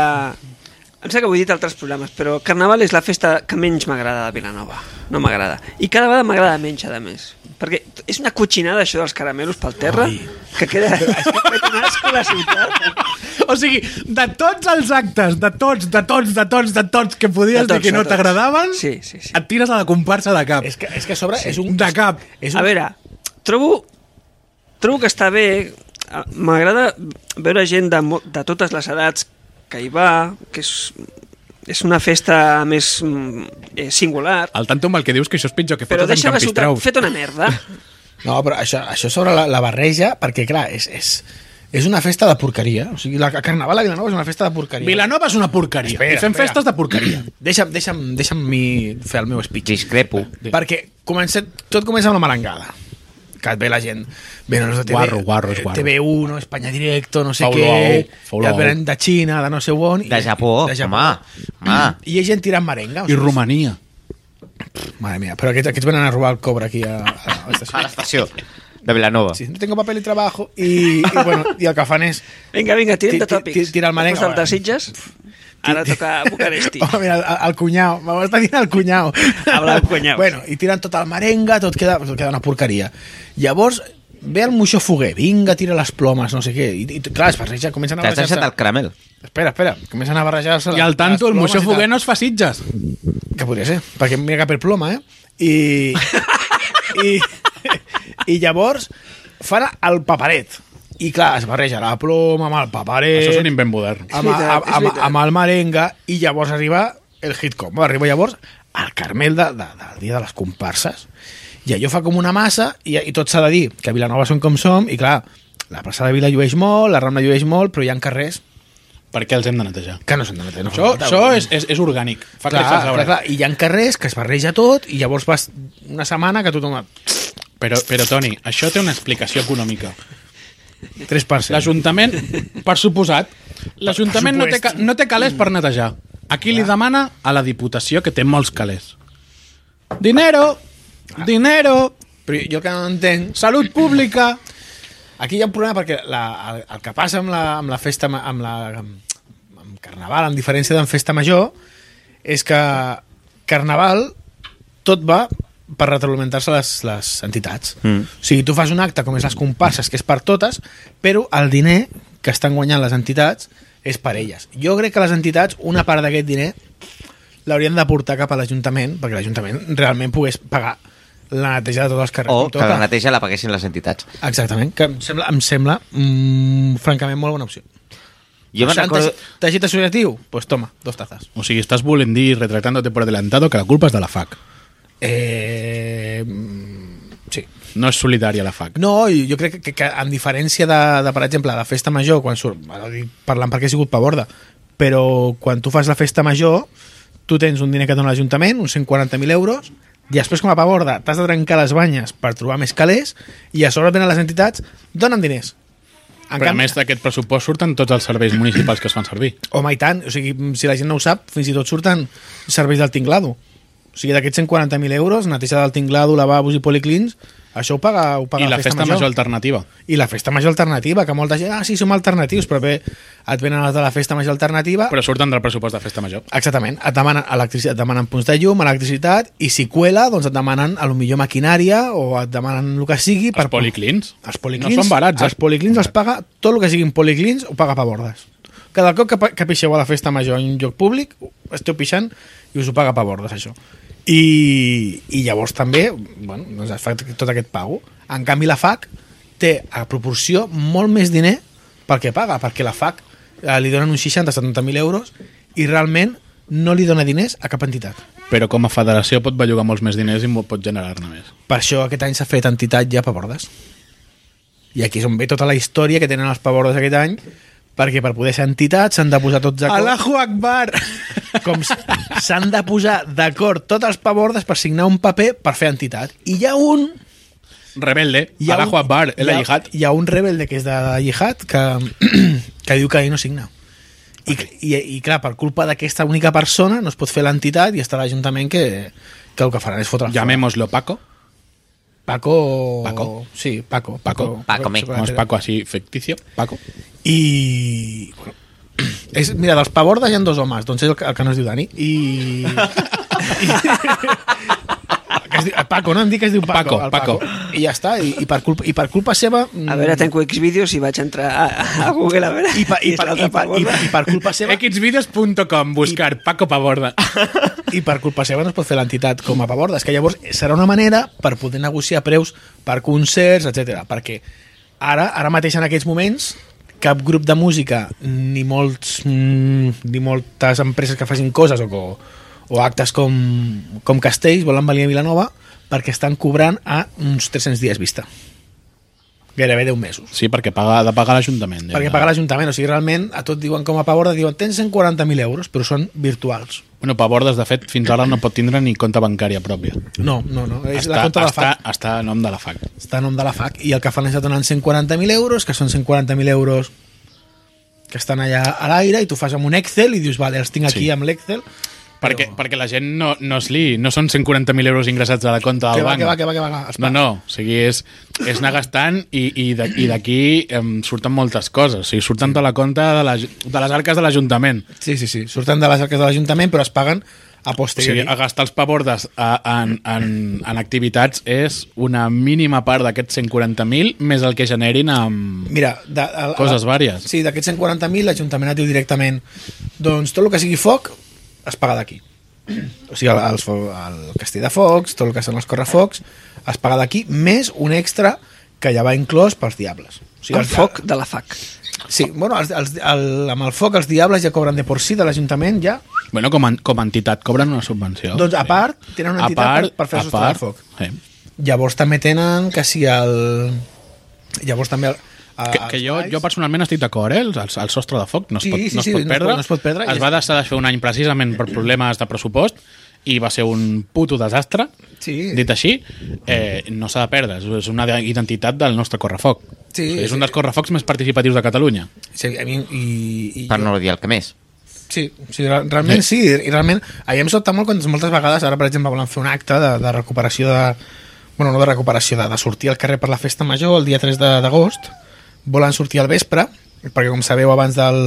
Speaker 4: Em sembla que ho he dit a altres programes, però Carnaval és la festa que menys m'agrada de Vilanova. No m'agrada. I cada vegada m'agrada menys, a més. Perquè és una cotxinada, això dels caramelos pel terra, Ai. que queda... És que ha fet un asco la ciutat.
Speaker 1: O sigui, de tots els actes, de tots, de tots, de tots, de tots que podies
Speaker 4: De tots,
Speaker 1: dir que
Speaker 4: de
Speaker 1: no
Speaker 4: tots.
Speaker 1: t'agradaven,
Speaker 4: Sí, sí, sí.
Speaker 1: et tires a la comparsa de cap.
Speaker 2: És que, és que a sobre sí. és un...
Speaker 1: De cap.
Speaker 2: És un...
Speaker 4: A veure, trobo, trobo que està bé, m'agrada veure gent de, mo- de totes les edats que hi va, que és, és una festa més mm, eh, singular,
Speaker 2: Ah,
Speaker 1: Al tanto amb el que dius que això és pitjor que
Speaker 4: però
Speaker 1: fotos en
Speaker 4: deixa la ciutat
Speaker 1: Campistrau.
Speaker 4: fet una merda.
Speaker 2: No, però això, això sobre la, la barreja, perquè clar, és, és, és una festa de porqueria. O sigui, la el Carnaval a Vilanova és una festa de porqueria.
Speaker 1: Vilanova és una porqueria.
Speaker 2: Espera,
Speaker 1: I fem
Speaker 2: espera.
Speaker 1: festes de porqueria.
Speaker 2: Deixa'm, deixa'm, deixa'm mi fer el meu speech.
Speaker 3: Discrepo.
Speaker 2: Perquè comença, tot comença amb la merengada. que et ve la gent. Venen els de TV,
Speaker 1: Guarro, guarro, és guarro.
Speaker 2: TV1, Espanya Directo, no sé
Speaker 1: Faula
Speaker 2: què,
Speaker 1: ou, faula
Speaker 2: i et
Speaker 1: ou.
Speaker 2: venen de Xina, de no sé on... i-
Speaker 3: De Japó,
Speaker 2: de Japó.
Speaker 3: home, Ah, home.
Speaker 2: I hi ha gent tirant merenga. o
Speaker 1: I
Speaker 2: sigui,
Speaker 1: Romania.
Speaker 2: Madre mía, pero aquests, aquests venen a robar el cobre aquí a, a, a
Speaker 3: A
Speaker 2: l'estació.
Speaker 3: l'estació de Vilanova.
Speaker 2: Sí, no tengo papel y trabajo y, y bueno, i el que fan és...
Speaker 4: Vinga, vinga, tirem de
Speaker 2: Ti- ti-
Speaker 4: tòpics.
Speaker 2: ti- tira el Marenga,
Speaker 4: Després del
Speaker 2: va.
Speaker 4: Desitges, ara toca Bucaresti.
Speaker 2: Oh, mira, el, el cunyau, m'ho està dient el cunyau.
Speaker 4: Habla del cunyau.
Speaker 2: Bueno, i tiren tot el merenga, tot queda, tot queda una porqueria. Llavors, ve el moixó foguer, vinga, tira les plomes, no sé què. I, i clar, es barreja, comencen a
Speaker 3: T'has
Speaker 2: barrejar-se...
Speaker 3: deixat el caramel.
Speaker 2: Espera, espera, comencen a barrejar-se...
Speaker 1: I al
Speaker 2: les
Speaker 1: tanto, el
Speaker 2: plomes
Speaker 1: Museu
Speaker 2: i tal.
Speaker 1: Foguer no es fa Sitges.
Speaker 2: Que podria ser, perquè mira cap el ploma, eh? I, i, i llavors fan el paperet. I clar, es barreja la ploma amb el paperet...
Speaker 1: Això és un invent modern.
Speaker 2: amb,
Speaker 4: És veritat,
Speaker 2: amb,
Speaker 4: és
Speaker 2: amb,
Speaker 4: veritat.
Speaker 2: amb el merenga i llavors arriba el hitcom. Arriba llavors al Carmel de, de, del dia de les comparses i allò fa com una massa i, i tot s'ha de dir que a Vilanova som com som i clar, la plaça de Vila llueix molt, la Rambla llueix molt, però hi ha carrers
Speaker 1: Per què els hem de netejar?
Speaker 2: que no són de metre. No
Speaker 1: Això,
Speaker 2: fan falta,
Speaker 1: això
Speaker 2: vull dir.
Speaker 1: és, és, és orgànic. Fa
Speaker 2: clar,
Speaker 1: créixer els
Speaker 2: clar,
Speaker 1: arbres.
Speaker 2: clar, i hi ha carrers que es barreja tot i llavors vas una setmana que tothom...
Speaker 1: Però, però, Toni, això té una explicació econòmica.
Speaker 2: 3%.
Speaker 1: L'Ajuntament, per suposat, l'Ajuntament no, té, ca- no té calés per netejar. Aquí li demana a la Diputació, que té molts calés. Dinero! Dinero!
Speaker 2: Però jo el que no entenc
Speaker 1: Salut pública!
Speaker 2: Aquí hi ha un problema perquè la, el, el que passa amb la, amb la festa, ma- amb, la, amb, amb Carnaval, en diferència d'en Festa Major, és que Carnaval tot va per retroalimentar-se les, les entitats.
Speaker 3: Mm.
Speaker 2: Mm. O sigui, tu fas un acte com és les comparses, que és per totes, però el diner que estan guanyant les entitats és per elles. Jo crec que les entitats, una part d'aquest diner l'haurien de portar cap a l'Ajuntament, perquè l'Ajuntament realment pogués pagar la neteja de tots els carrers.
Speaker 3: O
Speaker 2: com
Speaker 3: que
Speaker 2: toca.
Speaker 3: la neteja la paguessin les entitats.
Speaker 2: Exactament, que em sembla, em sembla mm, francament molt bona opció.
Speaker 3: Jo me'n recordo...
Speaker 2: Teixit associatiu? Pues toma, dos tazas.
Speaker 1: O sigui, estàs volent dir, retratándote por adelantado, que la culpa és de la FAC.
Speaker 2: Eh, mm, sí.
Speaker 1: No és solidària la FAC.
Speaker 2: No, i jo crec que, que en diferència de, de, per exemple, la festa major, quan surt, ara ho dic parlant perquè he sigut pavorda, però quan tu fas la festa major, tu tens un diner que et dona l'Ajuntament, uns 140.000 euros, i després com a pavorda t'has de trencar les banyes per trobar més calés, i a sobre tenen les entitats, donen diners. En
Speaker 1: Però a més d'aquest pressupost surten tots els serveis municipals que es fan servir.
Speaker 2: Home, i tant. O sigui, si la gent no ho sap, fins i tot surten serveis del tinglado. O sigui, d'aquests 140.000 euros, neteja del tinglado, lavabos i policlins, això ho paga, ho paga
Speaker 1: I la festa major alternativa.
Speaker 2: I la festa major alternativa, que molta gent... Ah, sí, som alternatius, però bé, et venen els de la festa major alternativa...
Speaker 1: Però surten del pressupost de festa major.
Speaker 2: Exactament, et demanen, electricitat, et demanen punts de llum, electricitat, i si cuela, doncs et demanen a lo millor maquinària o et demanen el que sigui...
Speaker 1: Els policlins.
Speaker 2: Els policlins,
Speaker 1: No són barats, eh?
Speaker 2: Els policlins els paga, tot el que siguin policlins ho paga Pabordes. Cada cop que, pa- que pixeu a la festa major en un lloc públic, esteu pixant i us ho paga Pabordes, això. I, i llavors també bueno, doncs es fa tot aquest pago. En canvi, la FAC té a proporció molt més diner pel que paga, perquè la FAC eh, li donen uns 60-70.000 euros i realment no li dona diners a cap entitat.
Speaker 1: Però com a federació pot bellugar molts més diners i mo- pot generar-ne més.
Speaker 2: Per això aquest any s'ha fet entitat ja Pavordes. I aquí és on ve tota la història que tenen els Pavordes aquest any, perquè per poder ser entitat s'han de posar tots d'acord...
Speaker 1: Akbar!
Speaker 2: Com s- s'han de posar d'acord tots els Pavordes per signar un paper per fer entitat. I hi ha un...
Speaker 1: Rebelde.
Speaker 2: Hi ha
Speaker 1: Allahu
Speaker 2: un-
Speaker 1: Akbar, el
Speaker 2: hi ha-
Speaker 1: Ayihad.
Speaker 2: Hi ha un rebelde que és de Jihad que, que diu que ell no signa. I, i, i clar, per culpa d'aquesta única persona no es pot fer l'entitat i està l'Ajuntament que, que el que faran és fotre
Speaker 1: Llamémoslo Paco.
Speaker 2: Paco...
Speaker 1: Paco?
Speaker 2: Sí, Paco.
Speaker 1: Paco.
Speaker 3: Paco, me.
Speaker 1: Vamos, Paco, así ficticio. Paco.
Speaker 2: I... Bueno, és, mira, dels Pavordes hi ha dos homes, doncs és el que, el que no es diu Dani. I... i que es diu, Paco, no? Em dic que es diu
Speaker 1: Paco,
Speaker 2: Paco. el
Speaker 1: Paco.
Speaker 2: I ja està, i, i, per culpa, i per culpa seva... mm,
Speaker 4: A veure, tanco Xvideos i vaig entrar a, a Google a veure...
Speaker 2: i, per, i,
Speaker 4: qui és
Speaker 2: per,
Speaker 4: l'altre
Speaker 2: i, per, i, per, i per culpa seva
Speaker 1: Xvideos.com. Buscar Paco Paborda.
Speaker 2: i per culpa seva no es pot fer l'entitat com a Pavordes, que llavors serà una manera per poder negociar preus per concerts, etc. perquè ara, ara mateix en aquests moments cap grup de música ni molts mm, ni moltes empreses que facin coses o, co- o actes com, com Castells volen venir a Vilanova perquè estan cobrant a uns 300 dies vista gairebé 10 mesos
Speaker 1: Sí, perquè paga, ha de pagar l'Ajuntament.
Speaker 2: perquè paga l'Ajuntament, o sigui, realment a tot diuen com a Pavordes diuen tens 140.000 euros, però són virtuals
Speaker 1: Bueno, Pabordes, de fet, fins ara no pot tindre ni compte bancària pròpia.
Speaker 2: No, no, no. És la compta
Speaker 1: Mm.
Speaker 2: de la
Speaker 1: està,
Speaker 2: FAC.
Speaker 1: està a nom de la FAC.
Speaker 2: Està a nom de la FAC. I el que fan és donar 140.000 euros, que són 140.000 euros que estan allà a l'aire i tu fas amb un Excel i dius, vale, els tinc aquí
Speaker 1: Sí.
Speaker 2: amb l'Excel.
Speaker 1: Perquè, perquè la gent no, no es li, no són 140.000 euros ingressats a la compte
Speaker 2: Que
Speaker 1: del
Speaker 2: va,
Speaker 1: banc.
Speaker 2: que va, que va, que va, que va. Els
Speaker 1: No, no, o sigui, és, és anar gastant i, i de- i d'aquí em surten moltes coses. O sigui, surten de la compta de, la, de les arques de l'Ajuntament.
Speaker 2: Sí, sí, sí. Surten de les arques de l'Ajuntament, però es paguen a
Speaker 1: O sigui,
Speaker 2: posteriori.
Speaker 1: a gastar els pavordes a, en, en, en activitats és una mínima part d'aquests 140.000 més el que generin amb...
Speaker 2: Mira, de, a,
Speaker 1: Coses vàries.
Speaker 2: Sí, d'aquests 140.000 l'Ajuntament et diu directament doncs tot el que sigui foc es paga d'aquí. O sigui, el, el, fo- el castell de focs, tot el que són els correfocs, es paga d'aquí, més un extra que ja va inclòs pels diables. O
Speaker 4: Sí, el
Speaker 2: els-
Speaker 4: foc de la FAC.
Speaker 2: Sí, bueno, els, els, el, amb el foc els diables ja cobren de por sí de l'Ajuntament, ja.
Speaker 1: Bueno, com, en, com a entitat cobren una subvenció.
Speaker 2: Doncs a part, tenen una
Speaker 1: A
Speaker 2: entitat per- per fer
Speaker 1: a
Speaker 2: sostre de
Speaker 1: part,
Speaker 2: foc.
Speaker 1: Sí.
Speaker 2: Llavors també tenen que si el... Llavors també... El, a-
Speaker 1: Que, que
Speaker 2: els
Speaker 1: jo,
Speaker 2: balls-
Speaker 1: jo personalment estic d'acord, eh? El, el sostre de foc no es
Speaker 2: Sí,
Speaker 1: pot,
Speaker 2: sí,
Speaker 1: no es
Speaker 2: sí,
Speaker 1: pot
Speaker 2: no es
Speaker 1: perdre.
Speaker 2: pot- no es pot perdre,
Speaker 1: Es
Speaker 2: ja
Speaker 1: va deixar de fer un any precisament per problemes de pressupost i va ser un puto desastre.
Speaker 2: Sí.
Speaker 1: Dit així, eh, no s'ha de perdre. És- És una identitat del nostre correfoc.
Speaker 2: Sí,
Speaker 1: és
Speaker 2: sí.
Speaker 1: un dels correfocs més participatius de Catalunya.
Speaker 2: Sí, a mi, i, i,
Speaker 3: Per no dir el que més.
Speaker 2: Sí, sí re- realment sí. i realment a mi em sobta molt quan moltes vegades ara per exemple volen fer un acte de, de recuperació de, bueno no de recuperació, de, de sortir al carrer per la festa major el dia 3 de- d'agost volen sortir al vespre perquè com sabeu abans del,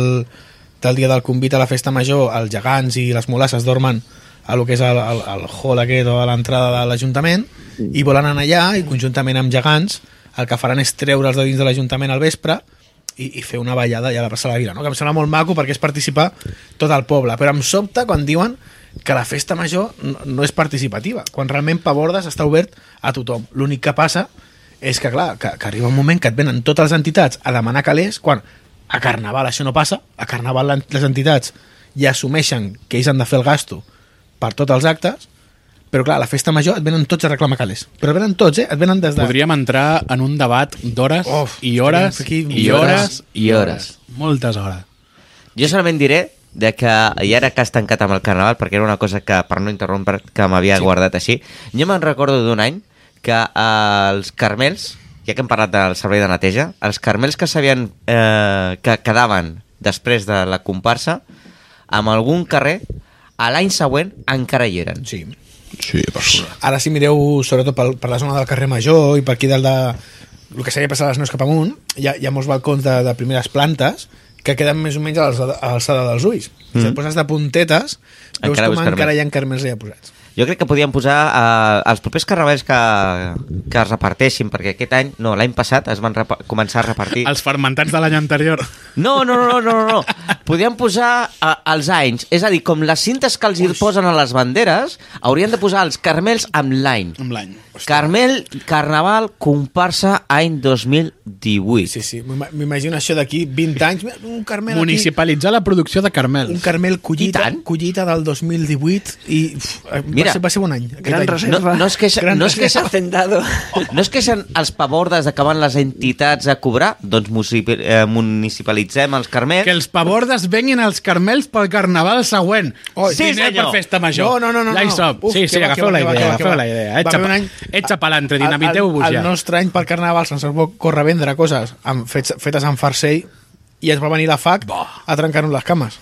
Speaker 2: del dia del convit a la festa major els gegants i les molasses dormen a lo que és el, el, el hall aquest o a l'entrada de l'Ajuntament i volen anar allà i conjuntament amb gegants el que faran és treure'ls de dins de l'Ajuntament al vespre i, i fer una ballada allà a la plaça de la Vila, no? que em sembla molt maco perquè és participar tot el poble, però em sobta quan diuen que la festa major no, no és participativa, quan realment Pabordes està obert a tothom. L'únic que passa és que, clar, que, que arriba un moment que et venen totes les entitats a demanar calés quan a Carnaval això no passa, a Carnaval l'en- les entitats ja assumeixen que ells han de fer el gasto per tots els actes, però clar, a la festa major et venen tots a reclamar calés. Però venen tots, eh? Et venen des de...
Speaker 1: Podríem entrar en un debat d'hores
Speaker 2: Uf,
Speaker 1: i hores
Speaker 2: aquí-
Speaker 1: i hores,
Speaker 3: I hores.
Speaker 1: moltes hores.
Speaker 3: Jo solament diré de que, i ara que has tancat amb el carnaval, perquè era una cosa que, per no interrompre, que m'havia sí. guardat així, jo me'n recordo d'un any que eh, els carmels, ja que hem parlat del servei de neteja, els carmels que sabien eh, que quedaven després de la comparsa, amb algun carrer, a l'any següent encara hi eren.
Speaker 2: Sí.
Speaker 1: Sí, per
Speaker 2: Ara si mireu, sobretot per, per la zona del carrer Major i per aquí del de... El que seria passar les neus cap amunt, hi ha, hi ha molts balcons de, de primeres plantes que queden més o menys a l'alçada a l'alçada dels ulls. Mm. Si et poses de puntetes, veus
Speaker 3: Mhm. Encara
Speaker 2: encara
Speaker 3: veus
Speaker 2: com encara
Speaker 3: carmel.
Speaker 2: hi ha carmels allà posats.
Speaker 3: Jo crec que podíem posar eh, els propers carnavals que, que es reparteixin, perquè aquest any, no, l'any passat es van repa- començar a repartir...
Speaker 1: Els fermentats de l'any anterior.
Speaker 3: No, no, no, no, no, no. Podríem posar eh, els anys. És a dir, com les cintes que els hi posen a les banderes, haurien de posar els carmels amb l'any.
Speaker 1: Amb l'any.
Speaker 3: Carmel, Carnaval, comparsa any 2018.
Speaker 2: Sí, sí, m'ima- m'imagino això d'aquí 20 anys, mira, un carmel
Speaker 1: Municipalitzar la producció de
Speaker 2: aquí,
Speaker 1: carmels.
Speaker 2: un carmel
Speaker 3: I
Speaker 2: collita,
Speaker 3: tant.
Speaker 2: collita del 2018 i uf,
Speaker 3: Mira.
Speaker 2: va, ser, va ser un any. aquest
Speaker 4: Gran
Speaker 2: any.
Speaker 4: reserva.
Speaker 3: No, no es queixen,
Speaker 2: Gran
Speaker 3: no es queixen,
Speaker 4: Hacendado.
Speaker 3: no es queixen els pavordes de que van les entitats a cobrar? Doncs municipi- eh, municipalitzem els carmels.
Speaker 1: Que els pavordes venguin als carmels pel carnaval següent.
Speaker 2: Oi,
Speaker 1: sí,
Speaker 3: sí,
Speaker 1: senyor.
Speaker 3: senyor.
Speaker 1: per festa major.
Speaker 2: No, no, no, no,
Speaker 1: Ja hi
Speaker 2: no.
Speaker 1: som.
Speaker 2: Uf,
Speaker 1: sí,
Speaker 2: que
Speaker 1: sí,
Speaker 2: va,
Speaker 1: agafeu
Speaker 2: que va,
Speaker 1: la
Speaker 2: que va,
Speaker 1: idea,
Speaker 2: que va,
Speaker 1: agafeu
Speaker 2: que
Speaker 1: la
Speaker 2: va.
Speaker 1: idea.
Speaker 2: Va
Speaker 1: Etxa,
Speaker 2: haver un
Speaker 1: pa,
Speaker 2: any-
Speaker 1: etxa palantre,
Speaker 2: El- el-
Speaker 1: dinamiteu-vos ja.
Speaker 2: El nostre any per Carnaval se'ns va córrer vendre coses amb, fets, fetes amb farcell i ens va venir la FAC a trencar-nos les cames.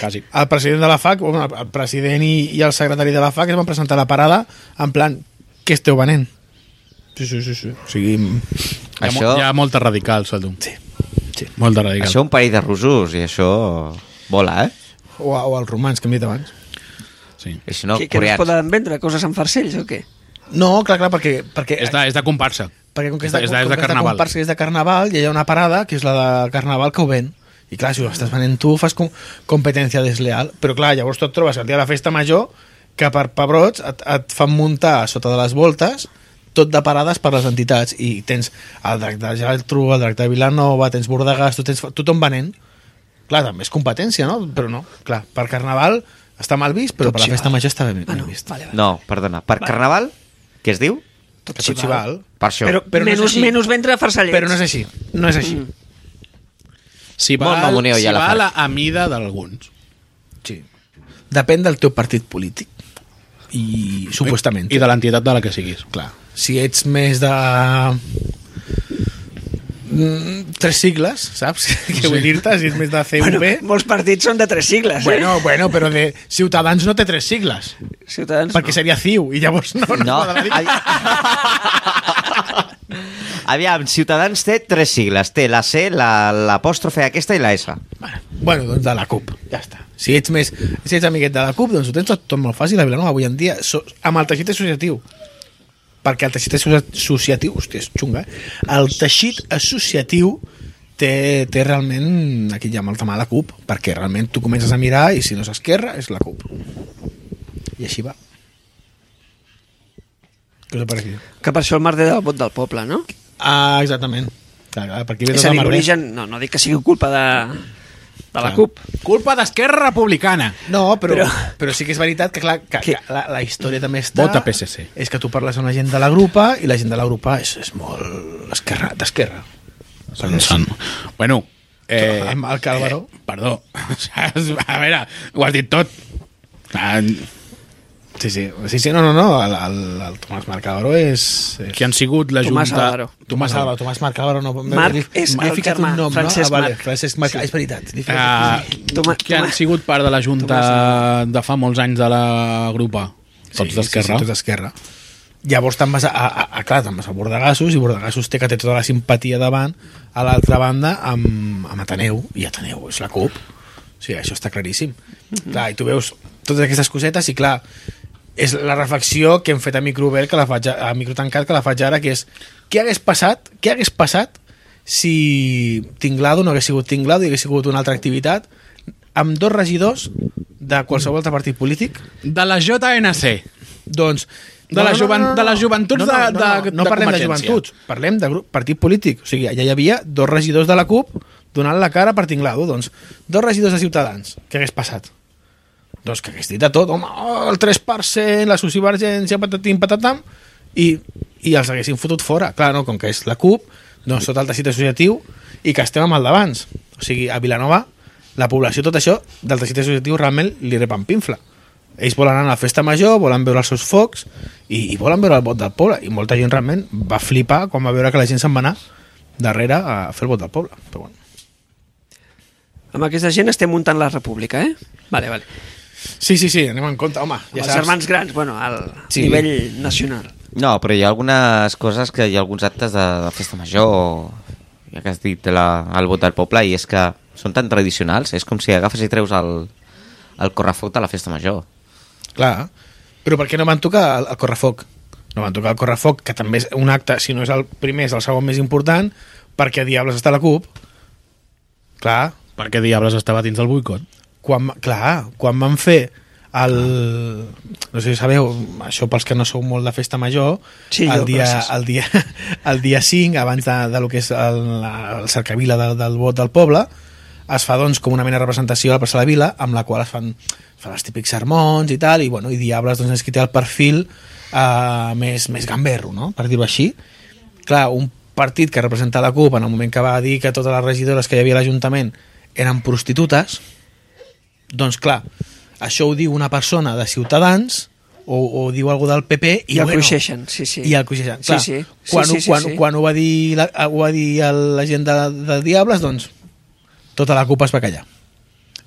Speaker 1: Quasi.
Speaker 2: El president de la FAC, bueno, el president i, i el secretari de la FAC es van presentar a la parada en plan, què esteu venent? Sí, sí, sí. sí. O sigui,
Speaker 1: Hi ha,
Speaker 3: Això-
Speaker 1: mo hi ha molta radical, Soldu.
Speaker 2: Sí, sí.
Speaker 1: Molta radical.
Speaker 3: Això un parell de russos, i això vola, eh?
Speaker 2: o, o els romans, que hem dit abans.
Speaker 1: Sí.
Speaker 3: I si no,
Speaker 4: que, que no es
Speaker 3: coreans.
Speaker 4: poden vendre coses amb farcells o què?
Speaker 2: No, clar, clar, perquè... perquè
Speaker 1: És de, és de comparsa.
Speaker 2: perquè com que és de,
Speaker 1: és de,
Speaker 2: com
Speaker 1: és
Speaker 2: que
Speaker 1: de
Speaker 2: és de
Speaker 1: carnaval.
Speaker 2: comparsa, és de carnaval i hi ha una parada que és la de carnaval que ho ven i clar, si ho estàs venent tu fas com competència desleal però clar, llavors tu et trobes el dia de la festa major que per pebrots et, et fan muntar a sota de les voltes tot de parades per les entitats i tens el drac de Geltrú, el drac de Vilanova tens Bordegas, tu tens, tothom venent clar, també és competència, no? però no, clar, per carnaval està mal vist però
Speaker 4: Tot
Speaker 2: per
Speaker 4: s'hi
Speaker 2: la festa
Speaker 4: val.
Speaker 2: major està ben,
Speaker 4: Ah,
Speaker 2: ben
Speaker 4: no,
Speaker 2: vist
Speaker 4: vale, vale.
Speaker 3: No, perdona. Per Carnaval, què es diu?
Speaker 2: que tot s'hi val,
Speaker 3: Per això.
Speaker 2: Però-
Speaker 4: Però
Speaker 2: no és
Speaker 4: menys,
Speaker 2: així.
Speaker 4: menys vendre farcellets.
Speaker 2: però no és així no és
Speaker 4: Mm.
Speaker 2: així,
Speaker 1: Si
Speaker 3: Molt
Speaker 1: va,
Speaker 3: mamoneo
Speaker 1: si
Speaker 3: ja la
Speaker 1: va a
Speaker 3: faig.
Speaker 1: la a mida d'alguns.
Speaker 2: sí depèn del teu partit polític. I, supuestament.
Speaker 1: I de l'entitat de la que siguis.
Speaker 2: Clar, si ets més de... Mm, tres sigles, saps? Què vull dir-te? Si ets més de CUP...
Speaker 4: Bueno, molts partits són de tres sigles,
Speaker 2: Bueno, bueno, però de Ciutadans no té tres sigles,
Speaker 4: eh? Ciutadans,
Speaker 2: perquè
Speaker 4: no.
Speaker 2: seria CiU, i llavors no, no,
Speaker 3: No,
Speaker 2: quadraria.
Speaker 3: avi- Aviam, Ciutadans té tres sigles. Té la C, la- l'apòstrofe aquesta i la S.
Speaker 2: Bueno, doncs de la CUP, ja està. Si ets, més, si ets amiguet de la CUP, doncs ho tens tot, tot molt fàcil a Vilanova avui en dia, so, amb el teixit associatiu. Perquè el teixit asso- associatiu, hòstia, és xunga, eh? El teixit associatiu té, té realment, aquí ja mal la CUP, perquè realment tu comences a mirar i si no és esquerra, és la CUP. I així va. Què us ha parecut?
Speaker 4: Que per això el mar de del vot del poble, no?
Speaker 2: Ah, exactament. Clar, clar, perquè ve tota
Speaker 4: És
Speaker 2: tot
Speaker 4: a
Speaker 2: el
Speaker 4: dir,
Speaker 2: malbé.
Speaker 4: l'origen... No, no dic que sigui culpa de, de la
Speaker 2: Clar.
Speaker 4: CUP.
Speaker 1: Culpa d'Esquerra Republicana.
Speaker 2: No, però, però,
Speaker 4: Però-
Speaker 2: però sí que és veritat que, clar, que,
Speaker 4: Que-
Speaker 2: que la, la història també està...
Speaker 1: Vota PSC.
Speaker 2: És que tu parles amb la gent de la grupa i la gent de la grupa és, és molt esquerra, d'esquerra.
Speaker 1: Són, són... Bueno, eh,
Speaker 2: Amb el Calvaró.
Speaker 1: Eh, perdó. Saps? A veure, ho has dit tot. Ah,
Speaker 2: Sí, sí, sí, sí no, no, no, el, el, el Tomàs Marc Calvaró és... és...
Speaker 1: qui han sigut la
Speaker 4: Tomàs
Speaker 1: Junta...
Speaker 4: Álvaro.
Speaker 2: Tomàs Alba, Tomàs Marc Calvaró no...
Speaker 4: Marc és
Speaker 2: M'he
Speaker 4: el
Speaker 2: ficat
Speaker 4: germà,
Speaker 2: un nom,
Speaker 4: Francesc
Speaker 2: no? Ah, vale,
Speaker 4: Marc.
Speaker 2: Francesc Marc, ah, és veritat. Li he ficat-
Speaker 1: Eh,
Speaker 4: Toma-
Speaker 1: que han
Speaker 4: toma-
Speaker 1: sigut part de la Junta de fa molts anys de la grupa. Tots d'Esquerra.
Speaker 2: Sí, sí, tots d'esquerra. Llavors te'n vas a, a, a, clar, te'n vas a Bordegassos i Bordegassos té que té tota la simpatia davant a l'altra banda amb, amb Ateneu i Ateneu és la CUP o sigui, això està claríssim clar, i tu veus totes aquestes cosetes i clar, és la reflexió que hem fet a microobert, que la faig a, a microtancat que la faig ara, que és què hagués passat què hagués passat si Tinglado no hagués sigut Tinglado i hagués sigut una altra activitat amb dos regidors de qualsevol altre partit polític
Speaker 1: De la JNC.
Speaker 2: doncs...
Speaker 1: De la joven- de les joventuts
Speaker 2: no, no,
Speaker 1: de-
Speaker 2: no, no,
Speaker 1: de-
Speaker 2: no,
Speaker 1: de
Speaker 2: parlem de
Speaker 1: Convergència.
Speaker 2: joventuts, parlem de grup, partit polític. O sigui, allà hi havia dos regidors de la CUP donant la cara per Tinglado. Doncs, dos regidors de Ciutadans. Què hagués passat? Doncs que hagués dit de tot, home, oh, el 3%, la sociovergència, patatim, patatam, i, i els haguessin fotut fora. Clar, no, com que és la CUP, doncs tot el teixit associatiu i que estem amb el d'abans. O sigui, a Vilanova, la població, tot això, del teixit associatiu realment li repampinfla. Ells volen anar a la festa major, volen veure els seus focs i, i volen veure el vot del poble. I molta gent realment va flipar quan va veure que la gent se'n va anar darrere a fer el vot del poble. Però bueno.
Speaker 4: Amb aquesta gent estem muntant la república, eh? Vale, vale.
Speaker 2: Sí, sí, sí, anem en compte, home.
Speaker 4: Ja
Speaker 2: Ja
Speaker 4: els
Speaker 2: saps.
Speaker 4: germans grans, bueno, al
Speaker 2: Sí.
Speaker 4: nivell nacional.
Speaker 3: No, però hi ha algunes coses que hi ha alguns actes de, de festa major o ja que has dit la, el vot del poble i és que són tan tradicionals, és com si agafes i treus el, el correfoc de la festa major.
Speaker 2: Clar, però per què no van tocar el, el correfoc? No van tocar el correfoc, que també és un acte, si no és el primer, és el segon més important, perquè diables està a la CUP. Clar,
Speaker 1: Per què diables estava dins del boicot?
Speaker 2: quan, clar, quan van fer el... No sé si sabeu, això pels que no sou molt de festa major,
Speaker 4: Sí,
Speaker 2: el,
Speaker 4: jo,
Speaker 2: dia,
Speaker 4: gràcies.
Speaker 2: el, dia, el dia 5, abans de, de lo que és el, la- el cercavila de, del vot del poble, es fa doncs com una mena de representació a la plaça de la Vila, amb la qual es fan, es fan els típics sermons i tal, i, bueno, i Diables doncs, és qui té el perfil eh, més, més gamberro, no? per dir-ho així. Clar, un partit que representa la CUP en el moment que va dir que totes les regidores que hi havia a l'Ajuntament eren prostitutes, doncs clar, això ho diu una persona de Ciutadans o, o diu algú del PP i,
Speaker 4: I el
Speaker 2: bueno,
Speaker 4: coixeixen, sí, sí.
Speaker 2: I el coixeixen.
Speaker 4: Sí,
Speaker 2: Clar,
Speaker 4: sí. Sí,
Speaker 2: Quan,
Speaker 4: sí, sí,
Speaker 2: quan,
Speaker 4: sí.
Speaker 2: quan ho va dir la, ho va dir el- la gent de, de Diables, doncs tota la culpa es va callar.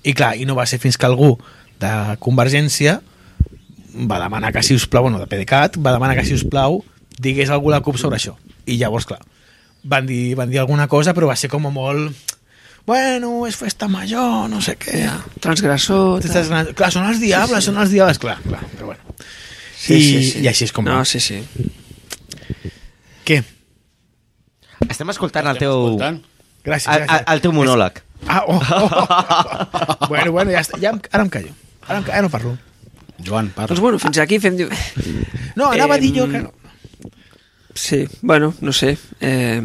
Speaker 2: I clar, i no va ser fins que algú de Convergència va demanar que, si us plau, bueno, de PDeCAT, va demanar que, si us plau, digués algú la CUP sobre això. I llavors, clar, van dir, van dir alguna cosa, però va ser com molt... Bueno, és festa major, no sé què. Ja.
Speaker 4: Transgressor...
Speaker 2: Te
Speaker 4: tal.
Speaker 2: estàs anant- Clar, són els diables, sí, sí. són els diables, clar, clar, però bueno. I- i així és com
Speaker 4: No,
Speaker 2: va.
Speaker 4: sí, sí.
Speaker 2: Què?
Speaker 3: Estem escoltant el teu,
Speaker 1: Escoltant.
Speaker 2: Gràcies,
Speaker 3: el, el,
Speaker 2: gràcies.
Speaker 3: el teu monòleg.
Speaker 2: Ah, oh, oh, oh. bueno, bueno, ja, està, ja em, ara em callo. Ara, em, ca- ara no parlo.
Speaker 1: Joan,
Speaker 4: Doncs
Speaker 1: parla.
Speaker 4: bueno, fins aquí fem... diu-
Speaker 2: No, anava a dir jo
Speaker 4: Em,
Speaker 2: que no.
Speaker 4: Sí, bueno, no sé. Eh...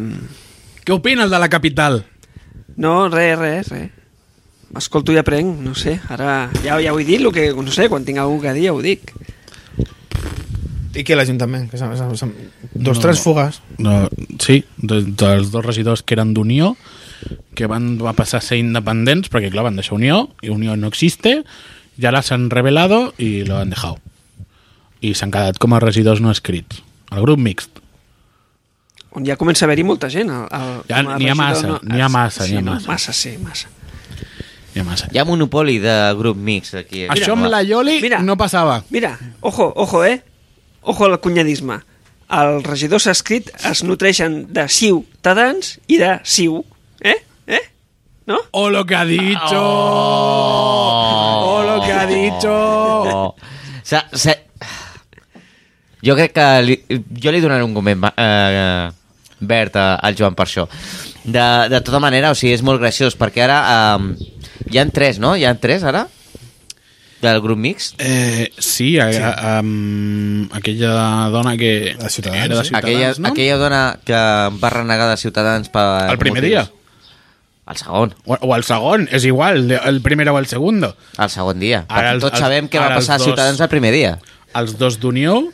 Speaker 1: Què opina el de la capital?
Speaker 4: No, res, res, res. Escolto i aprenc, no sé. Ara ja, ja ho he dit, el que, no sé, quan tinc algú que dir ja ho dic.
Speaker 2: Mm, I què l'Ajuntament? Que se'm- se'm- se'm- Dos, no. tres fugues.
Speaker 1: No, sí, de, dels dos regidors que eren d'Unió, que van va passar a ser independents, perquè clar, van deixar Unió, i Unió no existe, ya las han revelado y lo han dejado. I s'han quedat com a residus no escrits. El grup mixt.
Speaker 4: On ja comença a haver-hi molta gent. al- al-
Speaker 1: Ja
Speaker 4: com a
Speaker 1: n'hi ha
Speaker 4: regidor,
Speaker 1: massa, n'hi ha massa,
Speaker 4: sí,
Speaker 1: n'hi ha
Speaker 4: no?
Speaker 1: massa.
Speaker 4: Massa, sí, massa.
Speaker 1: Hi ha massa.
Speaker 3: Hi ha monopoli de grup mix aquí.
Speaker 1: eh.
Speaker 3: eh?
Speaker 1: Això amb la Yoli
Speaker 4: Mira.
Speaker 1: no passava.
Speaker 4: Mira, ojo, ojo, eh? Ojo al cunyadisme. Els regidors escrit es nutreixen de ciutadans i de ciu. Eh? Eh? No?
Speaker 1: ¡Oh, lo que ha dicho!
Speaker 3: Oh,
Speaker 1: lo que ha dicho.
Speaker 3: Oh. Sa, sa... Jo crec que li, jo li donaré un gomet ma- eh, eh, verd a- al Joan per això. De, de tota manera, o sigui, és molt graciós, perquè ara eh, hi han tres, no? Hi han tres, ara? Del grup mix?
Speaker 1: Eh, sí, a, a- am- aquella dona que
Speaker 2: De Ciutadans,
Speaker 1: era de
Speaker 2: sí.
Speaker 1: Ciutadans,
Speaker 3: aquella,
Speaker 1: no?
Speaker 3: aquella dona que va renegar de Ciutadans per...
Speaker 1: El primer dia.
Speaker 3: motius- El segon.
Speaker 1: O, o el segon, és igual, de- el primer o el segon.
Speaker 3: El segon dia.
Speaker 1: Ara
Speaker 3: Ara,
Speaker 1: els-
Speaker 3: tots
Speaker 1: els-
Speaker 3: sabem què va
Speaker 1: ara els
Speaker 3: passar a
Speaker 1: dos.
Speaker 3: Ciutadans el primer dia.
Speaker 1: Els dos d'Unió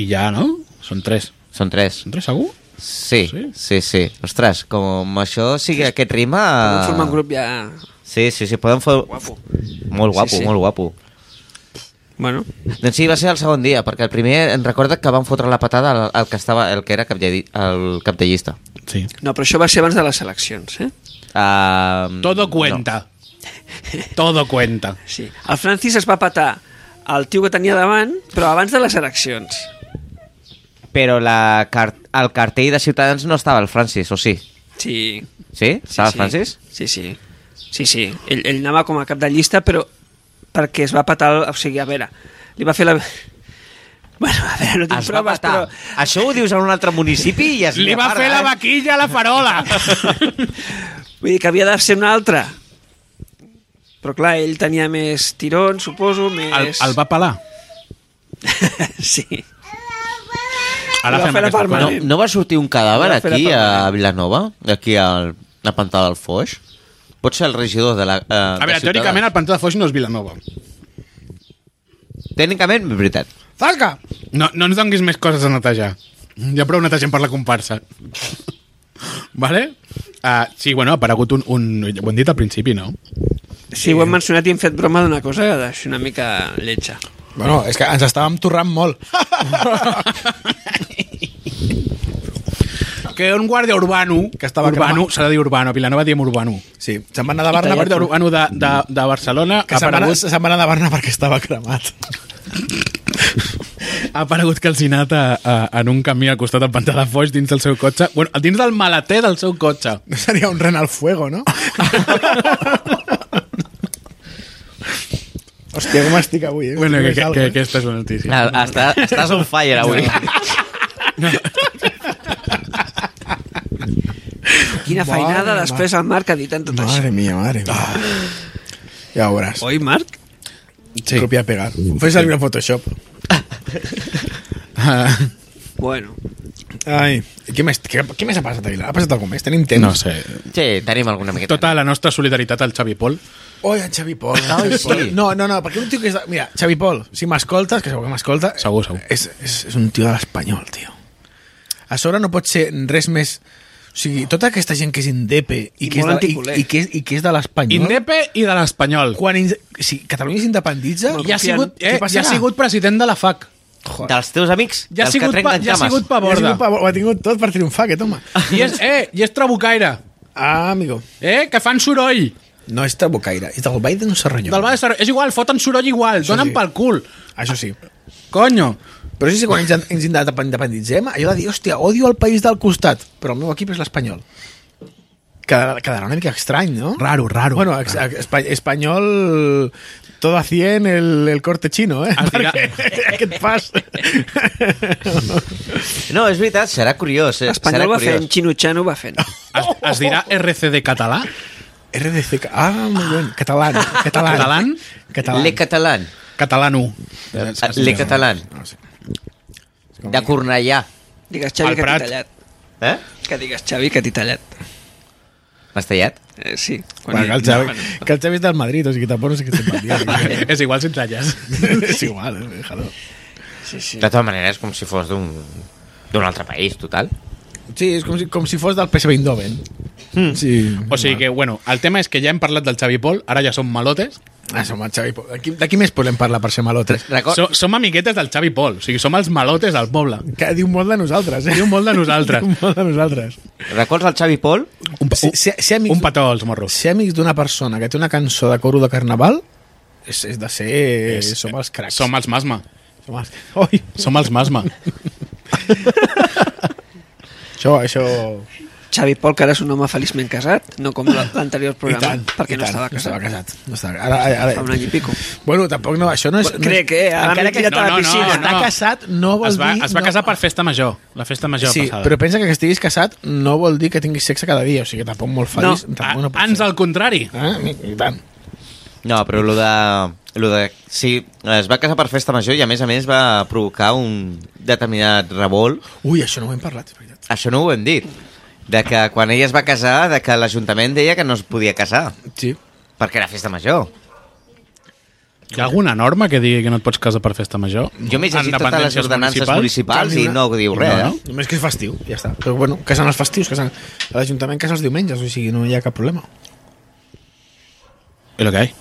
Speaker 1: i ja, no? Són tres.
Speaker 3: Són tres.
Speaker 1: Són tres, segur?
Speaker 3: Sí,
Speaker 1: Sí?
Speaker 3: sí, sí. Ostres, com això sigui aquest ritme...
Speaker 4: Podem formar un grup ja...
Speaker 3: Sí, sí, sí, podem fer...
Speaker 4: Guapo.
Speaker 3: Molt guapo,
Speaker 4: Sí, sí.
Speaker 3: molt guapo.
Speaker 4: Bueno,
Speaker 3: Doncs sí, va ser el segon dia, perquè el primer em recorda que van fotre la patada al, al que estava, el que era cap de, el cap de llista.
Speaker 1: Sí.
Speaker 4: no, però això va ser abans de les eleccions, eh?
Speaker 3: Uh,
Speaker 1: Todo cuenta. Todo cuenta.
Speaker 4: Sí. El Francis es va patar el tio que tenia davant, però abans de les eleccions.
Speaker 3: No. Però la car el cartell de Ciutadans no estava el Francis, o sí?
Speaker 4: Sí.
Speaker 3: Sí?
Speaker 4: sí
Speaker 3: Estava
Speaker 4: sí.
Speaker 3: Ah, el Francis?
Speaker 4: Sí, sí. Sí, sí. Ell, ell anava com a cap de llista, però perquè es va patar... El, o sigui, a veure, li va fer la... Bueno, a veure, no tinc
Speaker 3: Es va
Speaker 4: proves,
Speaker 3: matar.
Speaker 4: però...
Speaker 3: Això ho dius en un altre municipi i es
Speaker 1: Li va
Speaker 3: lleparda,
Speaker 1: fer la
Speaker 3: eh?
Speaker 1: vaquilla a la farola.
Speaker 4: Vull dir que havia de ser un altre. Però clar, ell tenia més tirons, suposo, més...
Speaker 1: El, el va pelar.
Speaker 4: Sí.
Speaker 1: Ara
Speaker 4: El va
Speaker 1: fem
Speaker 4: fer la
Speaker 1: aquesta cosa.
Speaker 4: palma.
Speaker 3: No, no va sortir un cadàver
Speaker 4: Era fer la
Speaker 3: aquí
Speaker 4: palma.
Speaker 3: a Vilanova? Aquí al, a Pantà del Foix? Pot ser el regidor de la... Eh,
Speaker 1: A veure, teòricament el Pantà de Foix no és Vilanova.
Speaker 3: Tècnicament, és veritat.
Speaker 2: Zasca!
Speaker 1: No, no ens donguis més coses a netejar. Ja prou netegem per la comparsa. vale? Uh, sí, bueno, ha aparegut un, un... Ho hem dit al principi, no?
Speaker 4: Sí, ho hem mencionat i hem fet broma d'una cosa d'això una mica lletja.
Speaker 2: Bueno, és que ens estàvem torrant molt.
Speaker 1: Que un guàrdia urbano...
Speaker 2: Que estava
Speaker 1: urbano,
Speaker 2: cremant.
Speaker 1: s'ha de dir urbano, a Vilanova diem urbano.
Speaker 2: Sí, se'n va anar de
Speaker 1: Un
Speaker 2: Barna
Speaker 1: guàrdia
Speaker 2: perquè...
Speaker 1: urbano de, de, de Barcelona
Speaker 2: Que
Speaker 1: ha
Speaker 2: se'n va, anar,
Speaker 1: aparegut,
Speaker 2: se'n va anar de Barna perquè estava cremat.
Speaker 1: ha aparegut calcinat a, a, en un camí al costat del Pantà de Foix dins del seu cotxe. Bueno, dins del maleter del seu cotxe.
Speaker 2: No seria un ren al fuego, no? Hòstia, com estic avui, eh?
Speaker 1: Bueno, que, que,
Speaker 2: Estic més
Speaker 1: que
Speaker 2: alt, eh?
Speaker 1: aquesta és una notícia.
Speaker 3: Ah, Està, estàs on fire avui.
Speaker 4: Quina
Speaker 2: Mare
Speaker 4: feinada
Speaker 2: meva.
Speaker 4: després el Marc ha dit en tot això.
Speaker 2: Madre mía, madre mía.
Speaker 1: Ah.
Speaker 2: Ja ho veuràs.
Speaker 4: Oi, Marc?
Speaker 2: Sí. Copiar pegar. Fes servir el Photoshop.
Speaker 4: Bueno,
Speaker 2: Ai, i què més, què, què més ha passat a Vila? Ha passat algú més? Tenim temps.
Speaker 1: No sé.
Speaker 3: Sí, tenim alguna miqueta.
Speaker 1: Tota la nostra solidaritat al Xavi Pol.
Speaker 2: Oi, en Xavi Pol. en
Speaker 3: Ai,
Speaker 2: Xavi
Speaker 3: sí.
Speaker 2: Pol. No, no, no, perquè un tio que és... De... Mira, Xavi Pol, si m'escoltes, que segur que m'escolta...
Speaker 1: Segur, segur.
Speaker 2: És, és, és un tio de l'espanyol, tio. A sobre no pot ser res més... O sigui, tota aquesta gent que és indepe i,
Speaker 4: I
Speaker 2: que, és de,
Speaker 4: molt anticuler.
Speaker 2: i, i, que, és, i que és de l'espanyol...
Speaker 1: Indepe i de l'Espanyol.
Speaker 2: Quan in... si Catalunya s'independitza...
Speaker 4: Molt
Speaker 1: Ja ha
Speaker 4: Confiant.
Speaker 1: sigut, eh, ja
Speaker 2: Què
Speaker 1: ha
Speaker 2: passarà?
Speaker 1: sigut president de la FAC.
Speaker 3: Dels teus amics?
Speaker 1: Ja ha
Speaker 3: dels que
Speaker 1: sigut, pa,
Speaker 3: trenquen
Speaker 1: ja ha
Speaker 3: cames.
Speaker 1: sigut pa
Speaker 2: Ja ha sigut
Speaker 1: borda.
Speaker 2: pa- Ho ha tingut tot per triomfar, aquest home.
Speaker 1: I és, eh, i és trabucaire.
Speaker 2: Ah, amigo.
Speaker 1: Eh, que fan soroll.
Speaker 2: No és Trabucaire, és del Biden Serranyol.
Speaker 1: Del Vall de Sar- És igual, foten soroll igual, donen
Speaker 2: sí.
Speaker 1: pel cul.
Speaker 2: Això sí.
Speaker 1: Coño.
Speaker 2: Però sí, sí, quan ens, ens independitzem, allò de dir, hòstia, odio el país del costat, però el meu equip és l'espanyol. Quedarà, quedarà una mica estrany, no?
Speaker 1: Raro, raro.
Speaker 2: Bueno, ex, espa, espanyol todo a 100 el, el corte chino, eh?
Speaker 1: Al final-
Speaker 2: Perquè, què et fas?
Speaker 3: No, és veritat, serà curiós. Eh? Serà
Speaker 4: Espanyol va
Speaker 3: curiós.
Speaker 4: fent, Xino Xano va fent.
Speaker 1: Es,
Speaker 2: Oh!
Speaker 1: es dirà RCD català?
Speaker 2: RDC, ah, molt bé, catalán, catalán.
Speaker 1: Catalán?
Speaker 2: Catalán.
Speaker 3: Le Catalán.
Speaker 1: Catalano.
Speaker 3: Le Catalán.
Speaker 2: No sé.
Speaker 3: De Cornellà.
Speaker 4: Digues Xavi
Speaker 1: El
Speaker 4: que t'hi
Speaker 1: Prat.
Speaker 4: tallat.
Speaker 3: Eh?
Speaker 4: Que digues Xavi que t'hi tallat.
Speaker 3: M'has tallat?
Speaker 4: Eh, sí.
Speaker 2: Bueno, que, el Xavi, que el Xavi és del Madrid, o sigui, tampoc no sé què se'n va dir.
Speaker 1: És igual si et talles.
Speaker 2: és igual, eh? déjalo.
Speaker 4: Sí, sí.
Speaker 3: De tota manera, és com si fos d'un d'un altre país, total.
Speaker 2: Sí, és com si, com si fos del PSV Eindhoven. Mm. Sí.
Speaker 1: Hmm. O sigui que, bueno, el tema és que ja hem parlat del Xavi Pol, ara ja som malotes.
Speaker 2: Ah, som el Xavi Pol. De qui, de qui més podem parlar per ser malotres?
Speaker 3: Record...
Speaker 1: So, som amiguetes del Xavi Pol, o sigui, som els malotes del poble.
Speaker 5: Que diu molt de nosaltres, eh?
Speaker 1: Diu molt de nosaltres.
Speaker 5: Diu molt de nosaltres.
Speaker 3: Records al Xavi Pol?
Speaker 1: Un, pa-
Speaker 2: Ser, ser, ser amics,
Speaker 1: un petó als morros.
Speaker 2: ser amics d'una persona que té una cançó de coro de carnaval és, és de ser... És, som els cracs.
Speaker 1: eh, Som els masma.
Speaker 2: Som els... Oi,
Speaker 1: Som els masma.
Speaker 2: això, això...
Speaker 4: Xavi Pol, que ara és un home feliçment casat, no com la- l'anterior programa,
Speaker 2: i
Speaker 4: perquè no
Speaker 2: tant,
Speaker 4: estava
Speaker 2: No estava
Speaker 4: casat.
Speaker 2: casat. No estava... Ara, ara,
Speaker 4: Fa un
Speaker 2: ara...
Speaker 4: any i pico.
Speaker 2: Bueno, tampoc no, això no és... no
Speaker 4: Crec, eh? Ara
Speaker 2: Encara
Speaker 4: m'he
Speaker 2: que
Speaker 4: tirat
Speaker 1: No,
Speaker 4: a
Speaker 1: no,
Speaker 4: la
Speaker 1: no, no.
Speaker 4: piscina.
Speaker 2: està casat no vol
Speaker 1: Es va,
Speaker 2: dir...
Speaker 1: es va
Speaker 2: no...
Speaker 1: casar per festa major, la festa major
Speaker 2: Sí,
Speaker 1: passada.
Speaker 2: però pensa que que estiguis casat no vol dir que tinguis sexe cada dia, o sigui que tampoc molt feliç.
Speaker 1: no,
Speaker 2: tampoc
Speaker 1: a,
Speaker 2: pot
Speaker 1: ans
Speaker 2: ser.
Speaker 1: al contrari.
Speaker 2: Eh? I tant.
Speaker 3: No, però lo de, lo de... Sí, es va casar per festa major i a més a més va provocar un determinat revolt.
Speaker 2: Ui, això no ho hem parlat, és veritat.
Speaker 3: Això no ho hem dit. De que quan ella es va casar, de que l'Ajuntament deia que no es podia casar.
Speaker 2: Sí.
Speaker 3: Perquè era festa major.
Speaker 1: Hi ha alguna norma que digui que no et pots casar per festa major?
Speaker 3: Jo m'he llegit
Speaker 1: En
Speaker 3: totes les
Speaker 1: dependències
Speaker 3: ordenances municipals,
Speaker 2: Canvi
Speaker 3: i no
Speaker 2: una-
Speaker 3: diu res, eh?
Speaker 2: No,
Speaker 3: no,
Speaker 2: no? Només que és festiu, ja està. Però bueno, casen els festius, casen... L'Ajuntament casa els diumenges, o sigui, no hi ha cap problema.
Speaker 1: I lo que hi.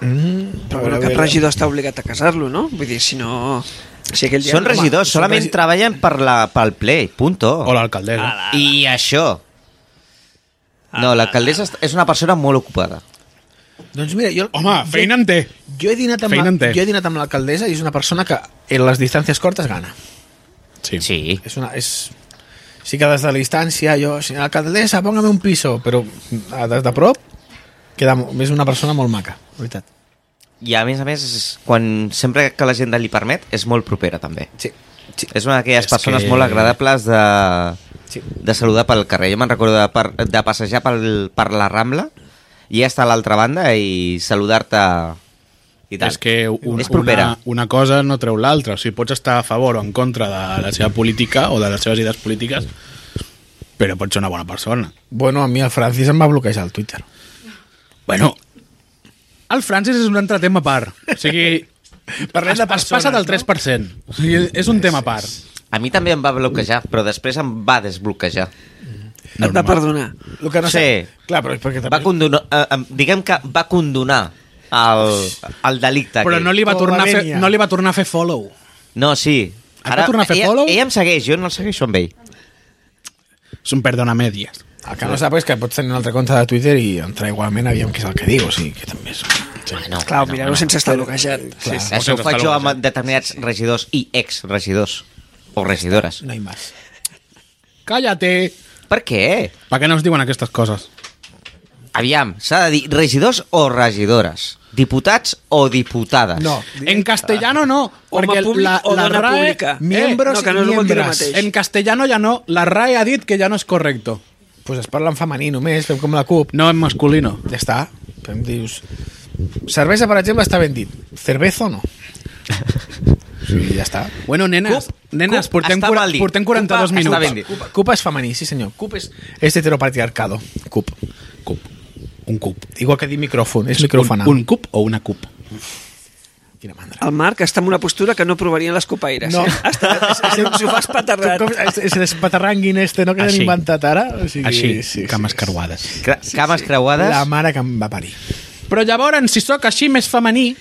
Speaker 2: Mm,
Speaker 4: Però bueno, cap regidor està obligat a casar-lo, no? Vull dir, si no... Si aquell dia-
Speaker 3: Són regidors,
Speaker 4: Home,
Speaker 3: solament treballen per la, pel ple, punto.
Speaker 1: O l'alcaldessa.
Speaker 3: I això. No, l'alcaldessa est- és una persona molt ocupada.
Speaker 2: Doncs mira, jo...
Speaker 1: Home, feina en té.
Speaker 2: Jo, jo he dinat amb,
Speaker 1: feina en
Speaker 2: la,
Speaker 1: té.
Speaker 2: jo he dinat amb l'alcaldessa i és una persona que en les distàncies cortes gana.
Speaker 1: Sí.
Speaker 3: Sí.
Speaker 2: És una... És... Sí que des de la distància jo... Senyora alcaldessa, póngame un piso, però ah, des de prop queda, mo- és una persona molt maca, la veritat.
Speaker 3: I a més a més, és- quan sempre que l'agenda li permet, és molt propera també.
Speaker 2: Sí, sí,
Speaker 3: És una d'aquelles
Speaker 1: És
Speaker 3: persones
Speaker 1: que-
Speaker 3: molt agradables de,
Speaker 2: sí.
Speaker 3: de saludar pel carrer. Jo me'n recordo de, per, de passejar pel, per la Rambla i estar a l'altra banda i saludar-te i tal.
Speaker 1: És que un,
Speaker 3: és propera.
Speaker 1: Una, una cosa no treu l'altra. O sigui, pots estar a favor o en contra de la seva política o de les seves idees polítiques, però pots ser una bona persona.
Speaker 2: Bueno, a mi el Francis em va bloquejar el Twitter.
Speaker 1: Bueno, el Francis és un altre tema a part. O sigui, Parlem es, de es passa del 3%. No? O sigui, és un tema a part.
Speaker 3: A mi també em va bloquejar, però després em va desbloquejar.
Speaker 4: Et va perdonar.
Speaker 2: Lo que no sé...
Speaker 3: Sí.
Speaker 2: Clar, però és perquè també...
Speaker 3: Va condonar, eh, em- diguem que va condonar el, el delicte.
Speaker 1: Però
Speaker 3: aquell.
Speaker 1: no li, va
Speaker 2: Com
Speaker 1: tornar a fer,
Speaker 2: Lavínia.
Speaker 1: no li va tornar a fer follow.
Speaker 3: No, sí.
Speaker 1: Et va tornar a fer
Speaker 3: ella,
Speaker 1: follow?
Speaker 3: ella em segueix, jo no el segueixo amb ell.
Speaker 1: És un perdona medias.
Speaker 2: El que no sap és que pots tenir un altre compte de Twitter i entrar igualment, aviam què és el que diu, o sigui, que també és...
Speaker 3: Bueno,
Speaker 4: Clar, mirar-ho sense estar
Speaker 2: eh,
Speaker 4: bloquejat. Sí, sí.
Speaker 3: Això ho
Speaker 1: Sense
Speaker 3: faig jo
Speaker 1: estar
Speaker 3: amb determinats regidors i ex-regidors. O regidores.
Speaker 2: No hi més.
Speaker 1: Cállate!
Speaker 3: Per què?
Speaker 1: Per què no es diuen aquestes coses?
Speaker 3: Aviam, s'ha de dir regidors o regidores. Diputats o diputades.
Speaker 2: No.
Speaker 1: En castellano no,
Speaker 4: Home
Speaker 1: perquè
Speaker 4: públic
Speaker 1: la,
Speaker 4: o
Speaker 1: la
Speaker 4: dona
Speaker 1: RAE...
Speaker 4: pública. eh?
Speaker 2: miembros
Speaker 4: no,
Speaker 2: i
Speaker 4: que no és el
Speaker 2: miembras.
Speaker 4: mateix.
Speaker 1: En castellano ja no, la RAE ha dit que ja no és correcto.
Speaker 2: Pues es parla en femení només, fem com la CUP.
Speaker 1: No en masculino.
Speaker 2: Ja està. Em dius... Cervesa, per exemple, està ben dit. Cervezo no. Sí, ja està.
Speaker 1: Bueno, nenes,
Speaker 3: Cup-
Speaker 1: nenes
Speaker 3: cup
Speaker 1: portem,
Speaker 3: està
Speaker 1: cura,
Speaker 3: mal dit.
Speaker 1: portem 42
Speaker 3: Cupa està
Speaker 1: minuts.
Speaker 3: ben dit.
Speaker 2: Cup, cup és femení, sí senyor. Cup és, és heteropatriarcado. Cup.
Speaker 1: Cup. Un cup.
Speaker 2: Igual que dir micròfon, és microfonar.
Speaker 1: Un, un cup o una cup?
Speaker 2: Quina mandra.
Speaker 4: El Marc està en una postura que no provarien les copaires. No. Eh? Està, s'ho fa espaterrat.
Speaker 2: Com, és, és l'espaterranguin este, no? Que
Speaker 1: Així.
Speaker 2: l'hem inventat ara. O sigui,
Speaker 1: Així, cames creuades.
Speaker 3: Cra cames creuades.
Speaker 2: La mare que em va parir.
Speaker 1: Però llavors, si sóc així més femení...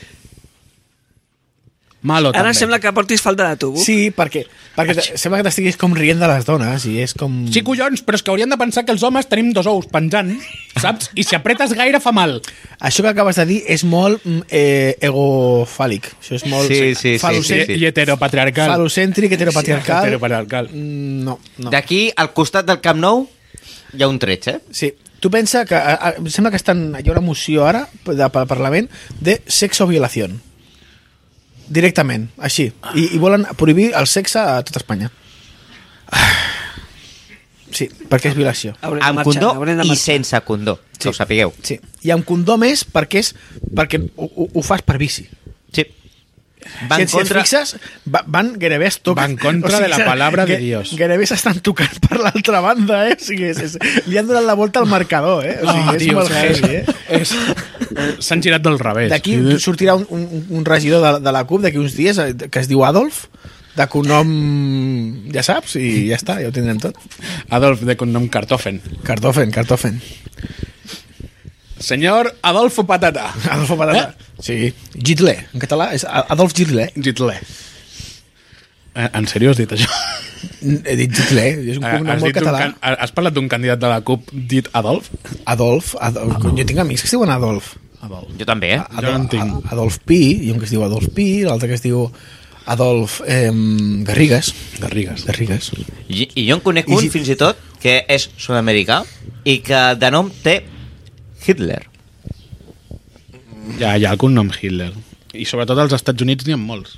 Speaker 1: Malo,
Speaker 4: Ara
Speaker 1: també.
Speaker 4: sembla que portis falta de tubo.
Speaker 2: Sí, perquè, perquè te- sembla que t'estiguis com rient de les dones i és com...
Speaker 1: Sí, collons, però és que haurien de pensar que els homes tenim dos ous penjant, saps? I si apretes gaire fa mal.
Speaker 2: Això que acabes de dir és molt mm, eh, egofàlic. Això és molt...
Speaker 3: Sí, sí, sí,
Speaker 1: Sí,
Speaker 2: falocè-
Speaker 1: Eh,
Speaker 3: sí.
Speaker 1: I heteropatriarcal.
Speaker 2: Falocèntric, heteropatriarcal...
Speaker 1: Heteropatriarcal.
Speaker 2: Mm, No, no.
Speaker 3: D'aquí, al costat del Camp Nou, hi ha un treig, eh?
Speaker 2: Sí. Tu pensa que... A, a, em sembla que estan, hi ha una moció ara de, pel Parlament de sexo-violació. Directament, així. I, I volen prohibir el sexe a tot Espanya. Sí, perquè és violació.
Speaker 4: Haurem de
Speaker 3: Amb
Speaker 4: marxar,
Speaker 3: condó
Speaker 4: haurem de
Speaker 3: i
Speaker 4: marxar.
Speaker 3: sense condó, que ho sapigueu.
Speaker 2: Sí. I amb condó més perquè, és, perquè ho, ho, ho fas per vici.
Speaker 3: Sí.
Speaker 2: Van
Speaker 3: Van
Speaker 2: si, contra...
Speaker 3: contra...
Speaker 2: si et fixes, va, van gairebé es toquen.
Speaker 1: Van contra de la palabra de Dios.
Speaker 2: Gairebé s'estan tocant per l'altra banda, eh? O sigui, és, és, li han donat la volta al marcador, eh? O sigui,
Speaker 1: Ah,
Speaker 2: és
Speaker 1: tio,
Speaker 2: molt
Speaker 1: és-
Speaker 2: heavy, eh?
Speaker 1: és- S'han girat del revés.
Speaker 2: D'aquí sortirà un, un, un regidor de, de la CUP d'aquí uns dies eh, que es diu Adolf, de cognom, ja saps, i ja està, ja ho tindrem tot.
Speaker 1: Adolf, de cognom Cartofen.
Speaker 2: Cartofen, Cartofen.
Speaker 1: Senyor Adolfo Patata.
Speaker 2: Adolfo Patata.
Speaker 1: Eh?
Speaker 2: Sí. Gitlé, en català, és Adolf Gitlé.
Speaker 1: Gitlé. Eh, En sèrio has dit això?
Speaker 2: He dit Gitlé, és un
Speaker 1: Eh,
Speaker 2: cognom
Speaker 1: Has,
Speaker 2: molt
Speaker 1: dit un
Speaker 2: català.
Speaker 1: can... has parlat d'un candidat de la CUP dit Adolf?
Speaker 2: Adolf,
Speaker 1: Ah,
Speaker 2: Adolf, jo tinc amics que es diuen Adolf.
Speaker 1: Adolf.
Speaker 3: Jo també,
Speaker 2: Ah,
Speaker 3: eh?
Speaker 1: Jo no en tinc.
Speaker 2: A- Adolf Pi, i un que es diu Adolf Pi, l'altre que es diu Adolf eh, Garrigues.
Speaker 1: Garrigues.
Speaker 2: Garrigues.
Speaker 3: I, I jo en conec
Speaker 2: I
Speaker 3: un,
Speaker 2: si-
Speaker 3: fins i tot, que és sud-americà i que de nom té Hitler.
Speaker 1: Hi ha, hi ha algun nom Hitler. I sobretot als Estats Units n'hi ha molts.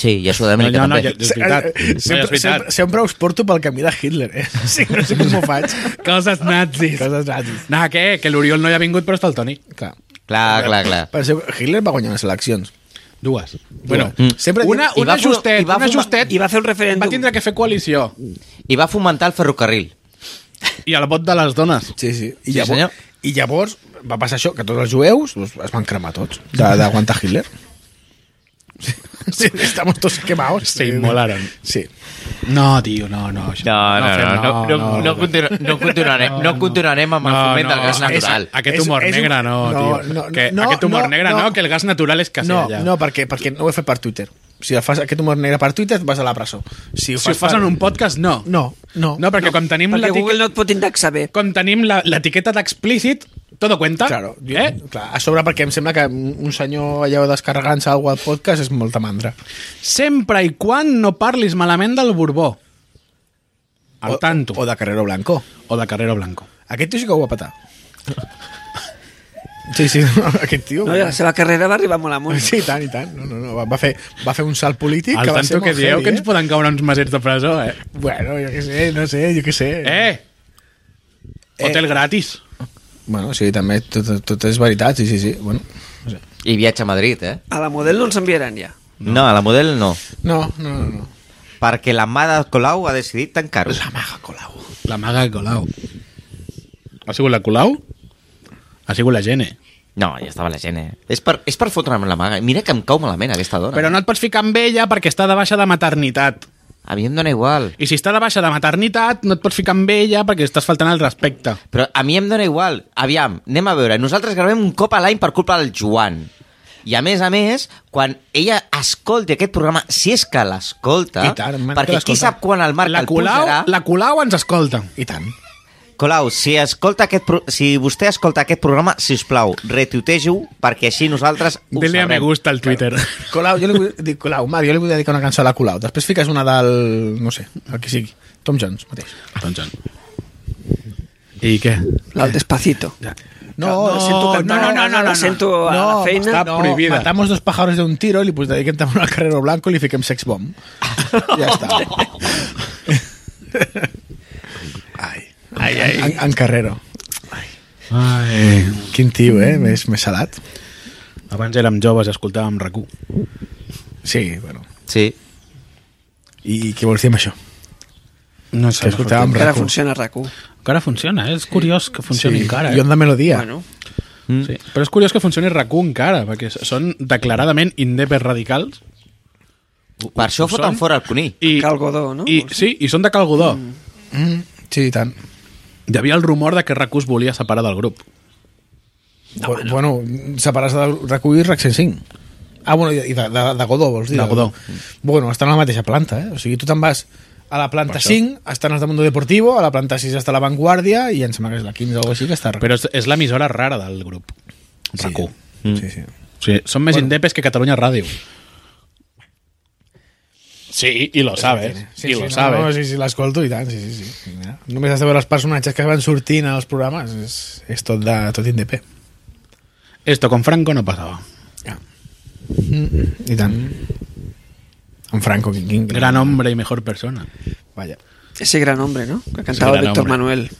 Speaker 3: Sí, i a Sud-amèrica
Speaker 1: No, no, no, ja-
Speaker 3: també.
Speaker 1: És veritat.
Speaker 2: Eh, eh,
Speaker 1: No,
Speaker 2: Sempre,
Speaker 1: és veritat.
Speaker 2: sempre, sempre us porto pel camí de Hitler, eh? Sí, no sé com ho faig.
Speaker 1: Coses nazis.
Speaker 2: Coses nazis.
Speaker 1: Nah, què? Que l'Oriol no hi ha vingut, però està el Toni.
Speaker 2: Clar.
Speaker 3: Clar, clar, clar.
Speaker 2: Penseu, Hitler va guanyar les eleccions.
Speaker 1: Dues. Bueno,
Speaker 3: Mm.
Speaker 1: sempre una,
Speaker 3: I
Speaker 1: una
Speaker 3: va fu-
Speaker 1: justet,
Speaker 3: i va
Speaker 1: una
Speaker 3: fumar-
Speaker 1: justet.
Speaker 4: i va fer un referèndum.
Speaker 1: Va tindre que fer coalició.
Speaker 3: I va fomentar el ferrocarril.
Speaker 1: I el vot de les dones.
Speaker 2: Sí, sí. I,
Speaker 3: Sí, senyor.
Speaker 2: llavors, I llavors va passar això, que tots els jueus doncs, es van cremar tots de- d'aguantar Hitler. Sí, estamos todos quemados.
Speaker 1: Se inmolaron.
Speaker 2: Sí.
Speaker 1: No, tio, no, no. això- fem-
Speaker 3: continuarem, no continuarem amb
Speaker 1: És, aquest
Speaker 2: És-
Speaker 1: humor
Speaker 2: és un-
Speaker 1: negre no,
Speaker 2: no,
Speaker 1: tio.
Speaker 2: no,
Speaker 1: que,
Speaker 2: no,
Speaker 1: aquest humor
Speaker 2: no,
Speaker 1: negre no,
Speaker 2: no.
Speaker 1: que el gas natural és
Speaker 2: No,
Speaker 1: casella.
Speaker 2: no perquè, perquè no ho he fet per Twitter. Si el fas aquest humor negre per Twitter, et vas a la presó. Si ho
Speaker 1: Si ho fas en un podcast, no.
Speaker 2: No, no.
Speaker 1: No, perquè quan tenim
Speaker 4: Perquè
Speaker 1: l'etiqueta
Speaker 4: Google no et pot indexar bé.
Speaker 1: com tenim la- l'etiqueta d'explícit, todo cuenta.
Speaker 2: Claro, jo,
Speaker 1: eh?
Speaker 2: clar, a sobre perquè em sembla que un un senyor allò descarregant-se alguna cosa al podcast és molta mandra.
Speaker 1: Sempre i quan no parlis malament del Borbó. Al
Speaker 2: O-
Speaker 1: tanto.
Speaker 2: O de Carrero Blanco.
Speaker 1: o de Carrero Blanco.
Speaker 2: Aquest tio sí que ho va petar. Sí, sí, aquest tio...
Speaker 4: No, I la seva carrera va arribar molt amunt.
Speaker 2: Sí, i tant, i tant. No, no, no. Va, va, fer, va fer un salt polític
Speaker 1: Al
Speaker 2: que va ser
Speaker 1: tanto
Speaker 2: molt
Speaker 1: que dieu
Speaker 2: heavy,
Speaker 1: que ens
Speaker 2: eh?
Speaker 1: poden caure uns mesets de presó, eh?
Speaker 2: Bueno, jo què sé, no sé, jo què sé.
Speaker 1: Eh!
Speaker 2: Eh.
Speaker 1: Hotel gratis.
Speaker 2: Bueno, sí, també tot, tot és veritat, sí, sí, sí. Bueno, no, sé.
Speaker 3: I viatge a Madrid, eh?
Speaker 4: A la model no ens enviaran ja.
Speaker 3: No, a la model no.
Speaker 2: no, no, no. no.
Speaker 3: Perquè la mà de Colau ha decidit tancar-ho.
Speaker 2: Maga Colau.
Speaker 1: La maga Colau. Ha sigut la Colau? Ha sigut la Gene.
Speaker 3: No, ja estava la gent, eh? És per, és per fotre'm la maga. Mira que em cau malament aquesta dona.
Speaker 1: Però no et pots ficar amb ella perquè està de baixa de maternitat.
Speaker 3: A mi em dóna igual.
Speaker 1: I si està de baixa de maternitat, no et pots ficar amb ella perquè estàs faltant al respecte.
Speaker 3: Però a mi em dóna igual. Aviam, anem a veure. Nosaltres gravem un cop a l'any per culpa del Joan. I a més a més, quan ella escolti aquest programa, si és que l'escolta,
Speaker 2: I tant, man, que
Speaker 3: perquè qui
Speaker 2: l'escolta.
Speaker 3: sap quan el Marc
Speaker 1: la
Speaker 3: el
Speaker 1: Colau,
Speaker 3: pujarà...
Speaker 1: la Colau ens escolta.
Speaker 2: I tant.
Speaker 3: Colau, si, escolta aquest pro... si vostè escolta aquest programa, si us plau, retuitegeu perquè així nosaltres ho
Speaker 1: Dele a me
Speaker 3: sabrem.
Speaker 1: gusta al Twitter.
Speaker 2: Colau, jo li vull, dic, Colau, Marc, jo li vull dedicar una cançó a la Colau. Després fiques una del... no sé, el que sigui. Tom Jones mateix.
Speaker 1: Doncs, I què?
Speaker 4: La del Despacito.
Speaker 2: No,
Speaker 4: no,
Speaker 2: sento
Speaker 4: no, no, no, no, no. sento a la feina.
Speaker 2: Està
Speaker 1: No,
Speaker 2: prohibida. Matamos dos pájaros de un tiro i li pues, dediquem també al Carrero Blanco i li fiquem sex bomb. Ja està. ai, ai, ai. En, en Carrero.
Speaker 1: Ai,
Speaker 2: Quin tio, eh? Més, més salat.
Speaker 1: abans érem joves i escoltàvem rac
Speaker 2: Sí, bueno.
Speaker 3: Sí.
Speaker 2: I, i què vols dir amb això?
Speaker 1: No
Speaker 2: Que escoltàvem
Speaker 4: Encara
Speaker 2: rac
Speaker 4: funciona RAC1.
Speaker 1: Encara funciona, eh? és curiós que funcioni encara. Eh?
Speaker 2: I Onda Melodia.
Speaker 4: Bueno,
Speaker 1: Sí. Però és curiós que funcioni rac encara, perquè són declaradament indepes radicals
Speaker 3: Per això foten
Speaker 1: són?
Speaker 3: fora el conill.
Speaker 1: i,
Speaker 4: Cal Godó, no?
Speaker 1: i, sí, i són de Cal Godó. Mm.
Speaker 2: Mm, sí, i tant.
Speaker 1: Hi havia el rumor de que rac es volia separar del grup.
Speaker 2: No, bueno, separats de recollir RAC 105. Ah, bueno, i de, de, de Godó, vols dir?
Speaker 1: De Godó.
Speaker 2: Bueno, estan a la mateixa planta, eh? O sigui, tu te'n vas a la planta
Speaker 1: Per això.
Speaker 2: 5, estan els de Mundo Deportivo, a la planta 6 està la Vanguardia i em sembla que és la 15 o alguna cosa així que està...
Speaker 1: Però és, és l'emissora rara del grup, rac
Speaker 2: sí. Sí, sí.
Speaker 1: O sigui, són més bueno. indepes que Catalunya Ràdio. Sí, i lo sabes.
Speaker 2: Sí,
Speaker 1: i
Speaker 2: sí,
Speaker 1: lo
Speaker 2: no,
Speaker 1: sabes.
Speaker 2: No, sí, sí, l'escolto i tant, sí, sí, sí. Mira, Només has de veure els personatges que van sortint als programes, és, és tot, de, tot indepè.
Speaker 1: Esto con Franco no pasaba.
Speaker 2: Ja. Mm, I tant. En Franco, quin, quin,
Speaker 1: Gran hombre y mejor persona.
Speaker 2: Vaja.
Speaker 4: ese gran hombre, ¿no? Que cantaba
Speaker 1: gran
Speaker 4: Víctor
Speaker 1: hombre.
Speaker 4: Manuel.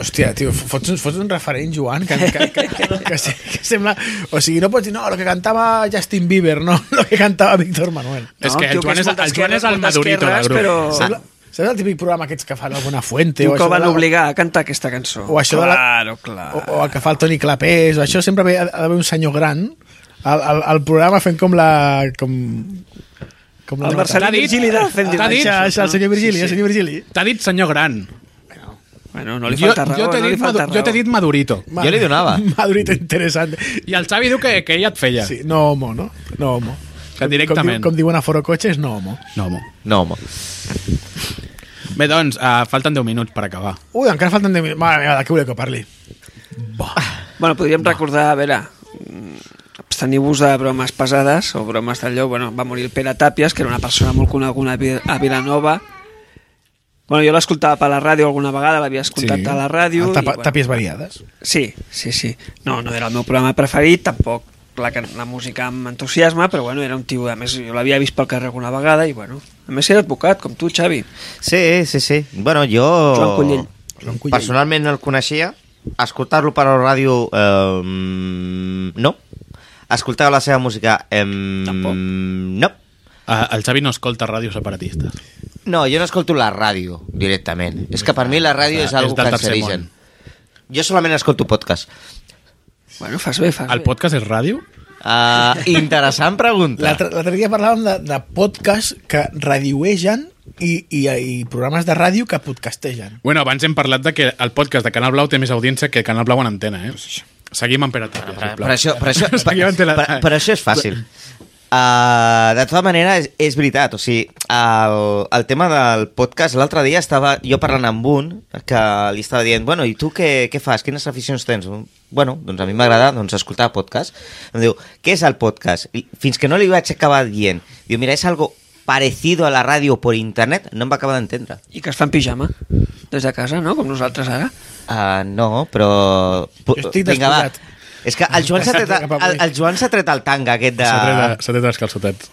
Speaker 2: Hòstia, tio, fots, un- fots un referent, Joan, que, que, que, que, que, se- que sembla... O sigui, no pots dir, no, el que cantava Justin Bieber, no, el que cantava Víctor Manuel.
Speaker 1: No, és que
Speaker 4: tio,
Speaker 1: el Joan
Speaker 4: que
Speaker 1: és,
Speaker 4: molt
Speaker 1: el, Joan
Speaker 4: d'esquerres,
Speaker 1: és el
Speaker 4: molt
Speaker 1: madurito del
Speaker 4: d'esquerres,
Speaker 1: grup.
Speaker 4: Però...
Speaker 2: Sembla, sembla el típic programa aquests que fan alguna fuente
Speaker 4: Diu
Speaker 2: o
Speaker 4: que
Speaker 2: això,
Speaker 4: ho van
Speaker 2: de la-
Speaker 4: obligar a cantar aquesta cançó.
Speaker 2: o això de la...
Speaker 4: Claro, claro.
Speaker 2: O, o el que fa el Toni Clapés, o això sempre ve, ha d'haver un senyor gran al, al, al programa fent com la... Com, com
Speaker 4: El
Speaker 2: nota.
Speaker 4: Marcelí
Speaker 1: T'ha dit?
Speaker 4: Virgili de Fendir.
Speaker 1: T'ha dit?
Speaker 2: Això, això, el senyor Virgili,
Speaker 4: Sí, sí.
Speaker 2: el senyor Virgili.
Speaker 1: T'ha dit senyor gran.
Speaker 4: Bueno, no li
Speaker 1: jo,
Speaker 4: falta raó.
Speaker 1: jo t'he
Speaker 4: no li
Speaker 1: dit,
Speaker 4: falta
Speaker 1: madu- jo t'he
Speaker 4: raó.
Speaker 1: dit madurito.
Speaker 2: Ma-
Speaker 3: Jo li donava.
Speaker 2: Madrid interessant.
Speaker 1: I el Xavi diu que, que ella et feia.
Speaker 2: Sí, no homo, no? No homo.
Speaker 1: Que directament.
Speaker 2: Com, diu- com diuen a Foro Cotxes, no homo.
Speaker 1: No, mo.
Speaker 3: No, home.
Speaker 1: Bé, doncs, uh, falten 10 minuts per acabar.
Speaker 2: Ui, encara falten 10 minuts. Mare meva, de què voleu que parli? Ah,
Speaker 4: Bueno, podríem recordar, a veure... mm, Absteniu-vos de bromes pesades o bromes d'allò. Bueno, va morir el Pere Tàpies, que era una persona molt coneguda a Vi- a Vilanova. Bueno, jo l'escoltava per la ràdio alguna vegada, l'havia escoltat a la ràdio.
Speaker 2: El
Speaker 4: i,
Speaker 2: Ah, Tapa,
Speaker 4: bueno,
Speaker 2: Tàpies variades.
Speaker 4: Sí, sí, sí. No, no era el meu programa preferit, tampoc la, can- la música amb entusiasme, però bueno, era un tio, a més, jo l'havia vist pel carrer alguna vegada i bueno, a més era advocat, com tu, Xavi.
Speaker 3: Sí, sí, sí. Bueno, jo...
Speaker 4: Joan Collell.
Speaker 2: Joan Collell.
Speaker 3: Personalment el coneixia. Escoltar-lo per la ràdio... Eh, mm, no. Escoltar la seva música... Eh,
Speaker 4: Tampoc.
Speaker 3: no.
Speaker 1: Uh, el Xavi no escolta ràdio separatistes.
Speaker 3: No, jo no escolto la ràdio directament. És que per mi la ràdio
Speaker 1: Ah,
Speaker 3: és algo
Speaker 1: és del tercer
Speaker 3: cancerigen. Jo solament escolto podcast.
Speaker 4: Bueno, fas bé, fas
Speaker 1: El
Speaker 4: bé.
Speaker 1: podcast és ràdio?
Speaker 3: Uh, interessant pregunta.
Speaker 2: L'altre l'altre dia parlàvem de, de podcasts que radioegen i, i, i programes de ràdio que podcastegen.
Speaker 1: Bueno, abans hem parlat de que el podcast de Canal Blau té més audiència que Canal Blau en antena, eh? Seguim amb Pere Tàpia,
Speaker 3: Per,
Speaker 1: sisplau.
Speaker 3: per, això, per, això, per,
Speaker 1: Seguim amb Pere
Speaker 3: per,
Speaker 1: Tàpia.
Speaker 3: per això és fàcil. Uh, de tota manera, és, és veritat. O sigui, el, el tema del podcast, l'altre dia estava jo parlant amb un que li estava dient, bueno, i tu què, què fas? Quines aficions tens? Bueno, doncs a mi m'agrada doncs, escoltar podcast. Em diu, què és el podcast? I fins que no li vaig acabar dient. Diu, mira, és algo parecido a la ràdio por internet, no em va acabar d'entendre.
Speaker 4: I que es fa en pijama, des de casa, no? Com nosaltres ara.
Speaker 3: Uh, no, però... pu-
Speaker 2: Jo estic
Speaker 3: Vinga, va.
Speaker 2: desposat.
Speaker 3: És que el Joan s'ha tret,
Speaker 2: Cap avui.
Speaker 3: el, el Joan s'ha tret el tanga aquest
Speaker 2: Ah.
Speaker 3: de...
Speaker 1: S'ha tret, s'ha tret els calçotets.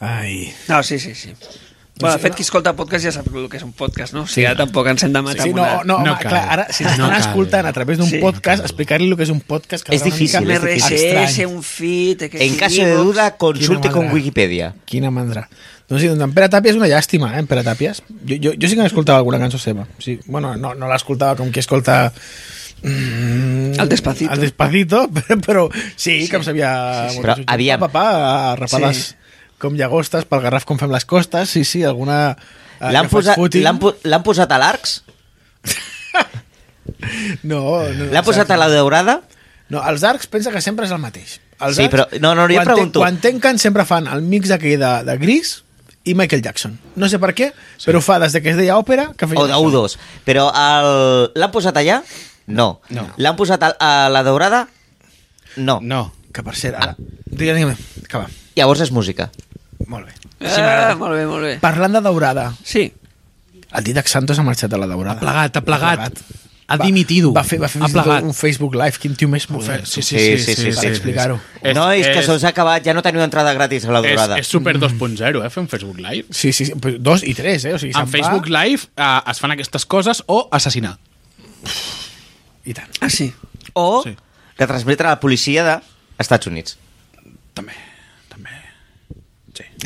Speaker 2: Ai...
Speaker 4: No, sí, sí, sí. Bueno, de fet, qui escolta podcast ja sap el que és un podcast, no? O sigui, ara tampoc ens hem de matar
Speaker 2: Sí,
Speaker 4: amb
Speaker 2: no,
Speaker 4: una...
Speaker 2: no,
Speaker 1: No
Speaker 2: home,
Speaker 1: cal.
Speaker 2: clar, ara, si
Speaker 1: No
Speaker 2: l'estan
Speaker 1: cal.
Speaker 2: escoltant a través d'un
Speaker 4: Sí.
Speaker 2: podcast, explicar-li el que és un podcast...
Speaker 3: És
Speaker 2: quedarà una
Speaker 3: difícil,
Speaker 2: mica
Speaker 3: és difícil.
Speaker 4: MRSS,
Speaker 2: estrany.
Speaker 4: un feed... eh, que
Speaker 3: En
Speaker 4: si
Speaker 3: caso de
Speaker 4: Evox,
Speaker 3: duda, consulte
Speaker 2: Quina
Speaker 3: con
Speaker 2: mandra.
Speaker 3: Wikipedia.
Speaker 2: Quina mandra. Doncs sí, doncs en Pere Tàpia és una llàstima, eh, en Pere Tàpies. Jo, jo, jo sí que escoltava alguna cançó seva. Sí, bueno, no, no l'escoltava com qui escolta... Mm,
Speaker 4: El Despacito.
Speaker 2: El Despacito, però, però sí, sí, que em sabia...
Speaker 3: sí. Però, aviam.
Speaker 2: Papà, a rapades
Speaker 4: Sí.
Speaker 2: com llagostes, pel garraf com fem les costes, sí, sí, alguna... eh,
Speaker 3: L'han
Speaker 2: que fas
Speaker 3: posat,
Speaker 2: footing.
Speaker 3: l'han po- l'han posat a l'Arcs?
Speaker 2: No, no,
Speaker 3: L'han posat a la Daurada?
Speaker 2: No, els arcs pensa que sempre és el mateix. Els
Speaker 3: Sí,
Speaker 2: arcs,
Speaker 3: però- no, no, jo
Speaker 2: quan
Speaker 3: pregunto.
Speaker 2: Ten, quan tanquen sempre fan el mix aquell de, de gris i Michael Jackson. No sé per què, sí. però ho fa des de que es deia òpera... Que feia
Speaker 3: O de
Speaker 2: això.
Speaker 3: U2. Però el- l'han posat allà? No.
Speaker 1: No.
Speaker 3: L'han posat a, a la Daurada? No.
Speaker 1: No.
Speaker 2: Que per cert,
Speaker 3: Ah.
Speaker 2: ara... Digue, digue, acaba.
Speaker 3: Llavors és música.
Speaker 2: Molt bé.
Speaker 4: Ah, molt bé, molt bé.
Speaker 2: Parlant de daurada,
Speaker 4: Sí,
Speaker 2: el Didac Santos ha marxat a la daurada.
Speaker 1: Plegat, ha plegat. Ha
Speaker 2: Va-
Speaker 1: dimitido.
Speaker 2: Va fer, va fer
Speaker 1: ha
Speaker 2: fins i tot
Speaker 1: plegat.
Speaker 2: un Facebook Live. Quin tio més modern.
Speaker 1: Sí, sí, sí.
Speaker 3: Sí, sí, sí, sí,
Speaker 2: per explicar-ho.
Speaker 1: És-
Speaker 3: no, és, que
Speaker 1: és-
Speaker 3: se us ha acabat, ja no teniu entrada gratis a la
Speaker 1: És,
Speaker 3: Daurada.
Speaker 1: és super 2.0, eh, fer un Facebook Live.
Speaker 2: Sí, sí, sí, però dos i tres, eh? O sigui,
Speaker 1: En
Speaker 2: se'n
Speaker 1: Facebook
Speaker 2: va,
Speaker 1: Live eh, es fan aquestes coses o assassinar.
Speaker 2: I tant.
Speaker 4: ah, sí.
Speaker 3: O
Speaker 1: Sí.
Speaker 3: retransmetre a la policia de Estats Units.
Speaker 1: També, també.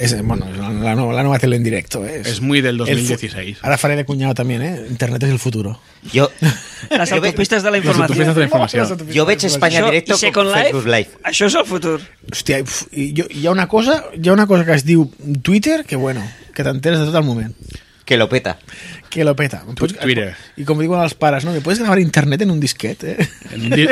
Speaker 2: És, eh, bueno, és la, la, nova, la nova tele en directo, eh?
Speaker 1: És muy del
Speaker 2: el fu-
Speaker 1: 2016.
Speaker 2: Ara faré de cunyado també, eh? Internet és el futuro.
Speaker 3: Jo,
Speaker 4: Les
Speaker 3: jo, veig,
Speaker 4: autopistes de la
Speaker 1: Les autopistes
Speaker 4: informació.
Speaker 1: de la informació.
Speaker 3: jo veig Espanya
Speaker 4: Això,
Speaker 3: Directo
Speaker 4: i Second
Speaker 3: com
Speaker 4: Life,
Speaker 3: Facebook Live.
Speaker 4: això és el futur.
Speaker 2: Hòstia, uf, i jo, hi, ha una cosa, hi ha una cosa que es diu Twitter que, bueno, que t'enteres de tot el moment.
Speaker 3: Que lo peta.
Speaker 2: Que lo peta.
Speaker 1: Twitter.
Speaker 2: I com diuen els pares, no? Que puedes gravar internet en un disquet, eh?
Speaker 1: Un, di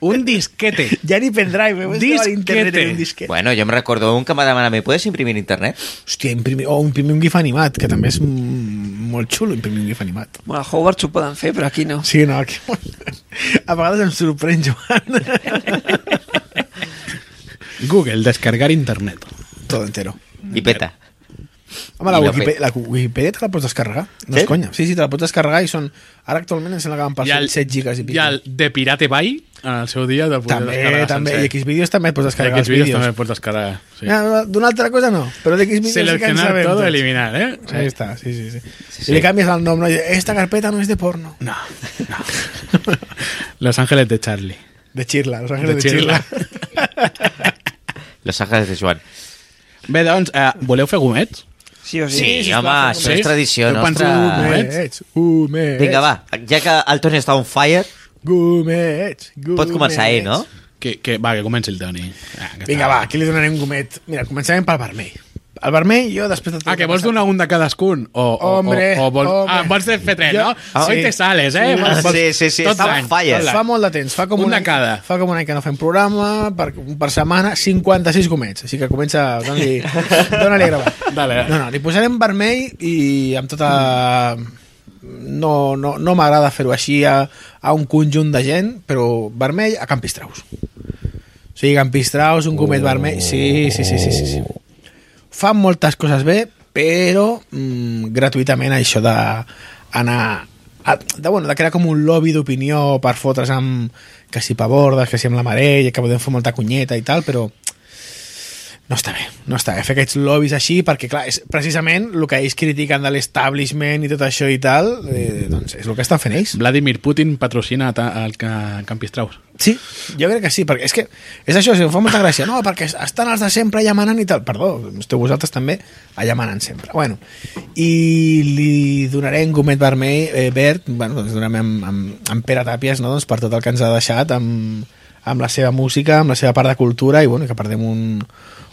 Speaker 1: un disquete.
Speaker 2: Ja ni pendrive, eh? Puedes gravar internet
Speaker 1: Disquete.
Speaker 2: en un disquet. Bueno.
Speaker 3: Bueno, jo em recordo un que em va demanar, ¿me puedes imprimir internet?
Speaker 2: Hòstia, imprimir, o imprimir un gif animat, que també és mm, molt xulo imprimir un gif animat.
Speaker 4: Bueno, a Hogwarts ho poden fer, però aquí no.
Speaker 2: Sí, no, que... a vegades em sorprèn, Joan.
Speaker 1: Google, descargar internet.
Speaker 2: Tot entero.
Speaker 3: I peta.
Speaker 2: Home, la
Speaker 3: I la
Speaker 2: Wikipedia,
Speaker 3: pe-
Speaker 2: la Wikipedia te la pots descarregar. No
Speaker 3: Sí?
Speaker 2: és conya. Sí, sí, te la pots descarregar i són... Ara actualment em sembla que van per
Speaker 1: I el-
Speaker 2: 7 gigas i
Speaker 1: I
Speaker 2: pico.
Speaker 1: el de Pirate Bay, en el seu dia, de poder
Speaker 2: També,
Speaker 1: descarregar
Speaker 2: també.
Speaker 1: sencer.
Speaker 2: I Xvideos també et pots
Speaker 1: I
Speaker 2: descarregar
Speaker 1: aquests
Speaker 2: els
Speaker 1: vídeos
Speaker 2: vídeos.
Speaker 1: també pots descarregar. Sí.
Speaker 2: Ja, D'una altra cosa no, però de Xvideos sí que en
Speaker 1: Seleccionar
Speaker 2: sabem
Speaker 1: todo,
Speaker 2: tots.
Speaker 1: eliminar, eh?
Speaker 2: Ahí está, sí, sí, sí. sí,
Speaker 3: sí.
Speaker 2: I li canvies el nom, no? I, Esta carpeta no és de porno.
Speaker 1: No, no. Los Ángeles de Charlie.
Speaker 2: De Xirla, Los Ángeles de,
Speaker 1: De Xirla.
Speaker 2: Xirla.
Speaker 3: Los Ángeles de Joan.
Speaker 1: Bé, doncs, eh, voleu fer gomets?
Speaker 4: Sí o sí.
Speaker 3: Sí, home, això
Speaker 1: Sí?
Speaker 3: és tradició
Speaker 1: Jo penso
Speaker 2: eh.
Speaker 3: nostra.
Speaker 1: que-
Speaker 2: Gomets, gomets.
Speaker 3: Vinga, va, ja que el Toni està on fire,
Speaker 2: Gomets, gomets.
Speaker 3: pot començar ell, no?
Speaker 1: Que, que, va, que comenci el Toni. Ah, que
Speaker 2: Vinga,
Speaker 1: està.
Speaker 2: va, aquí li donarem un gomet. Mira, començarem pel vermell. El vermell, jo després... De
Speaker 1: Ah, que vols donar un de cadascun? O, o,
Speaker 2: Hombre,
Speaker 1: o, o vols,
Speaker 2: hombre.
Speaker 1: Ah, vols fer tres,
Speaker 2: Jo-
Speaker 1: no? Ah, Hoy
Speaker 3: sí.
Speaker 1: te sales, eh?
Speaker 3: Ah,
Speaker 1: Vols-
Speaker 3: sí, sí, sí,
Speaker 1: tot
Speaker 3: estava
Speaker 1: l'any,
Speaker 3: en falles.
Speaker 1: tot l'any.
Speaker 2: Fa molt de temps, fa com
Speaker 1: Un
Speaker 2: un,
Speaker 1: de
Speaker 2: any-
Speaker 1: cada.
Speaker 2: Fa com un any que no fem programa, per, per setmana, 56 comets, així que comença... Dóna-li dona a gravar.
Speaker 1: Dale.
Speaker 2: No, no, li posarem vermell i amb tota... No, no, no m'agrada fer-ho així a, a un conjunt de gent, però vermell a Campistraus. O sigui, Campistraus, un comet vermell... Sí, sí, sí, sí, sí, sí. Fan moltes coses bé, però mm, gratuïtament això de anar a, de, bueno, de crear com un lobby d'opinió per fotre's amb que si pavordes, que si amb la Marella, que podem fer molta cunyeta i tal, però no està bé, no està bé fer aquests lobbies així perquè clar, és precisament el que ells critiquen de l'establishment i tot això i tal eh, doncs és el que estan fent ells
Speaker 1: Vladimir Putin patrocina ta- el ca- Campistraus.
Speaker 2: sí, jo crec que sí, perquè és que és això, si em fa molta gràcia, no, perquè estan els de sempre allà manant i tal, perdó, esteu vosaltres també allà manant sempre, bueno i li donarem gomet vermell eh, verd, bueno, doncs donarem amb, amb, amb Pere Tàpies, no, doncs per tot el que ens ha deixat amb, amb la seva música amb la seva part de cultura i bueno, que perdem un,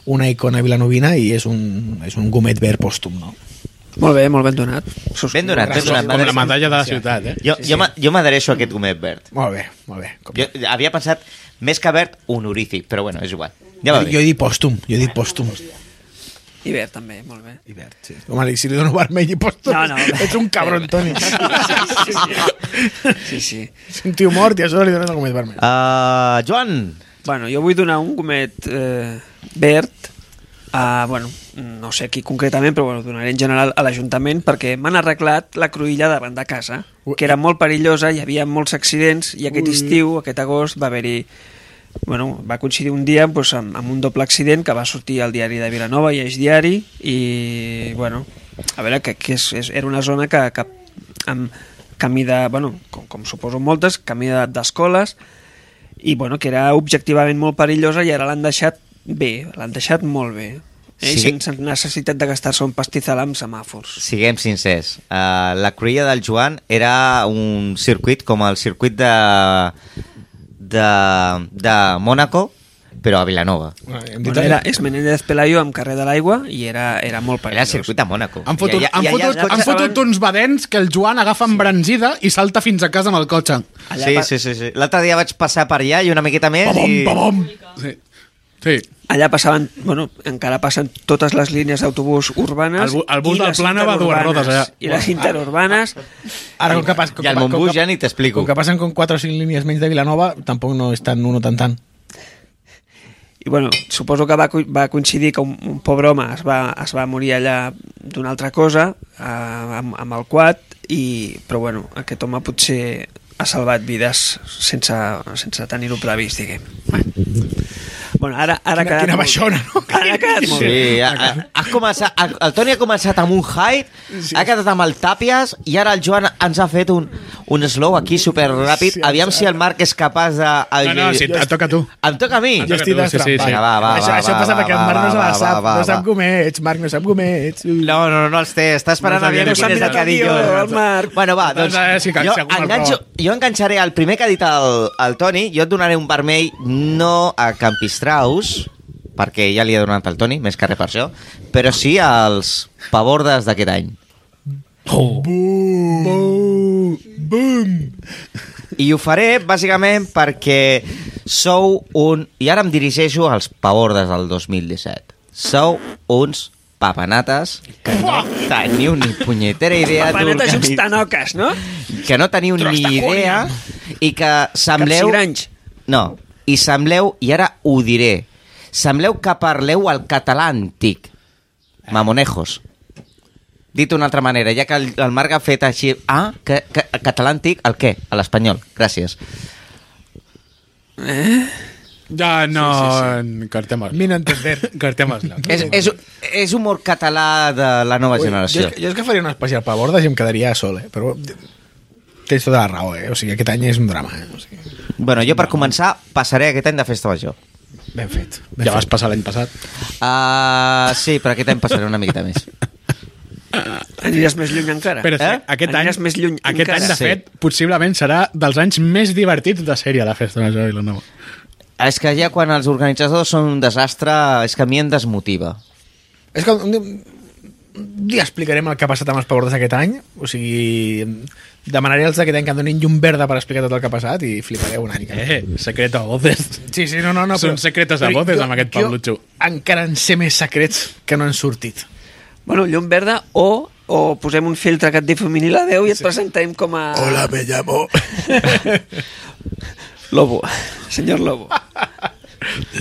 Speaker 2: una icona vilanovina i és un, és un gomet verd pòstum, no?
Speaker 4: Molt bé, molt ben donat. Sus-
Speaker 3: Ben donat, ben donat.
Speaker 1: Com la
Speaker 3: m'adreço-
Speaker 1: medalla de la ciutat, eh?
Speaker 3: Jo, jo, m'a- jo m'adreço a aquest gomet verd.
Speaker 2: Molt bé, molt bé. Com...
Speaker 3: Jo havia pensat, més que verd, honorífic, però bueno, és igual. Ja va
Speaker 2: jo, jo
Speaker 3: bé.
Speaker 2: he dit pòstum, jo he dit pòstum.
Speaker 4: I verd, també, molt bé.
Speaker 2: I verd, sí. Home, Alex, si li dono vermell i pòstum,
Speaker 4: No, no.
Speaker 2: ets un cabron, Toni.
Speaker 4: Sí, sí. sí, sí.
Speaker 2: És un tio mort i a sobre li dones el gomet vermell.
Speaker 3: Uh, Joan,
Speaker 4: Bueno, jo vull donar un gomet eh, verd a, bueno, no sé qui concretament, però bueno, donaré en general a l'Ajuntament perquè m'han arreglat la cruïlla davant de casa, que era molt perillosa, hi havia molts accidents i aquest estiu, aquest agost, va haver-hi bueno, va coincidir un dia doncs, amb, amb un doble accident que va sortir al diari de Vilanova i és diari i bueno, a veure que, que és, és, era una zona que, que amb camí de, bueno, com, com suposo moltes, camí de- d'escoles i bueno, que era objectivament molt perillosa i ara l'han deixat bé, l'han deixat molt bé eh?
Speaker 3: Sí.
Speaker 4: sí. sense necessitat de gastar-se un pastizal amb semàfors
Speaker 3: siguem sincers. Uh, la cruïlla del Joan era un circuit com el circuit de, de, de Mònaco, però a Vilanova.
Speaker 4: bueno, era, és Menéndez Pelayo amb carrer de l'aigua i era, era
Speaker 3: Era
Speaker 4: molt
Speaker 3: el
Speaker 4: perillós
Speaker 3: circuit de Mònaco.
Speaker 1: Han fotut,
Speaker 3: Hi ha-
Speaker 1: han
Speaker 3: hi ha- hi ha
Speaker 1: fotut,
Speaker 3: llocs
Speaker 1: han
Speaker 3: que
Speaker 1: fotut
Speaker 3: saben-
Speaker 1: uns badens que el Joan agafa embranzida i salta fins a casa amb el cotxe.
Speaker 4: Allà
Speaker 3: Sí,
Speaker 4: pa-
Speaker 3: sí, sí. sí. L'altre dia vaig passar per allà i una miqueta més i...
Speaker 1: Pam, Sí. sí.
Speaker 4: Allà passaven, bueno, encara passen totes les línies d'autobús urbanes.
Speaker 1: El bu- el bus
Speaker 4: i
Speaker 1: del
Speaker 4: les
Speaker 1: Plana va a dues
Speaker 4: interurbanes,
Speaker 1: rodes, allà.
Speaker 4: I les interurbanes...
Speaker 2: Ara, com que, pas, com,
Speaker 3: I al
Speaker 2: que- com
Speaker 3: Montbus
Speaker 2: que-
Speaker 3: ja ni t'explico.
Speaker 2: Com que passen com 4 o 5 línies menys de Vilanova, tampoc no és tan uno tan tan.
Speaker 4: I bueno, suposo que va, co- va coincidir que un, un pobre home es va, es va morir allà d'una altra cosa, eh, amb, amb el quad, i, però bueno, aquest home potser ha salvat vides sense, sense tenir-ho previst, diguem. Bueno, ara,
Speaker 2: Quina-
Speaker 4: ara ha quedat
Speaker 2: quina
Speaker 4: molt bé.
Speaker 2: baixona, no?
Speaker 4: Ara ha quedat molt bé.
Speaker 3: Sí, ha, ha- has començat, el, el Toni ha començat amb un hype, sí. ha quedat amb el Tàpies i ara el Joan ens ha fet un, un slow aquí super ràpid.
Speaker 2: Sí,
Speaker 3: Aviam si el Marc és capaç de...
Speaker 1: No, no, si et toca a tu.
Speaker 3: Em toca a mi?
Speaker 1: Jo estic
Speaker 2: Sí,
Speaker 1: sí, sí, sí.
Speaker 3: Va, va, va,
Speaker 2: això, això
Speaker 3: va,
Speaker 2: passa
Speaker 3: va,
Speaker 2: perquè el
Speaker 3: va,
Speaker 2: Marc no se la
Speaker 3: va, va,
Speaker 2: sap,
Speaker 3: Ah, va,
Speaker 2: no sap
Speaker 3: va.
Speaker 2: comets, Marc no sap comets.
Speaker 3: No, no, no, no els té. Està esperant
Speaker 1: No
Speaker 3: aviam
Speaker 1: sabia ni quin
Speaker 3: quin és el que ha dit
Speaker 4: era.
Speaker 3: jo.
Speaker 4: El Marc.
Speaker 3: Bueno, va,
Speaker 1: Doncs
Speaker 3: doncs
Speaker 1: a veure si cal-
Speaker 3: jo,
Speaker 1: si algú me'l
Speaker 3: enganxo, jo enganxaré el primer que ha dit el, el Toni. Jo et donaré un vermell no a Campistraus, perquè ja li he donat al Toni, més que res per això, però sí als pavordes d'aquest any. Mm. I ho faré bàsicament perquè sou un... I ara em dirigeixo als pavordes del 2017. Sou uns papanates que no teniu ni punyetera idea
Speaker 4: Papanetes
Speaker 3: d'organitzar-
Speaker 4: juxtanoques, no?
Speaker 3: que no teniu ni idea i que sembleu...
Speaker 4: Capsigranys.
Speaker 3: No, i sembleu, i ara ho diré, sembleu que parleu el català antic. Eh. Mamonejos. Dit d'una altra manera, ja que el, el Marc ha fet així... Ah, que, que, català antic, el què? A l'espanyol. Gràcies.
Speaker 1: Ja no... Sí, sí, sí. Cortemos.
Speaker 2: Mira, entender.
Speaker 1: Cortemos.
Speaker 3: És, és, és humor català de la nova
Speaker 2: Ui, Jo,
Speaker 3: generació.
Speaker 2: és que- jo és que faria un especial per bordes i em quedaria sol, eh? però tens tota la raó, eh? o sigui, aquest any és un drama. Eh? O sigui,
Speaker 3: Bueno, jo per començar passaré aquest any de festa major.
Speaker 2: ben fet. Ben
Speaker 1: Ja
Speaker 2: fet.
Speaker 1: vas passar l'any passat.
Speaker 3: Uh, sí, però aquest any passaré una miqueta més.
Speaker 4: Aniràs més lluny encara.
Speaker 1: Però és que
Speaker 3: Eh?
Speaker 1: aquest any,
Speaker 4: Aniràs més lluny
Speaker 1: aquest any,
Speaker 4: encara.
Speaker 1: de
Speaker 3: Sí.
Speaker 1: fet, possiblement serà dels anys més divertits de sèrie, la Festa Major de Vilanova.
Speaker 3: És que ja quan els organitzadors són un desastre, és que a mi em desmotiva.
Speaker 2: És que un dia, un dia explicarem el que ha passat amb els pavordes aquest any. O sigui, demanaré als d'aquest any que em donin llum verda per explicar tot el que ha passat i flipareu una mica.
Speaker 1: Eh, secret a voces.
Speaker 2: Sí, sí, no, no, no.
Speaker 1: Són secretes a
Speaker 2: però
Speaker 1: voces
Speaker 2: jo-
Speaker 1: amb aquest
Speaker 2: jo
Speaker 1: Pablutxo.
Speaker 2: Encara en sé més secrets que no han sortit.
Speaker 4: Bueno, llum verda o, o posem un filtre que et difumini la veu i et presentem com a...
Speaker 2: me llamo
Speaker 4: Lobo. Senyor Lobo.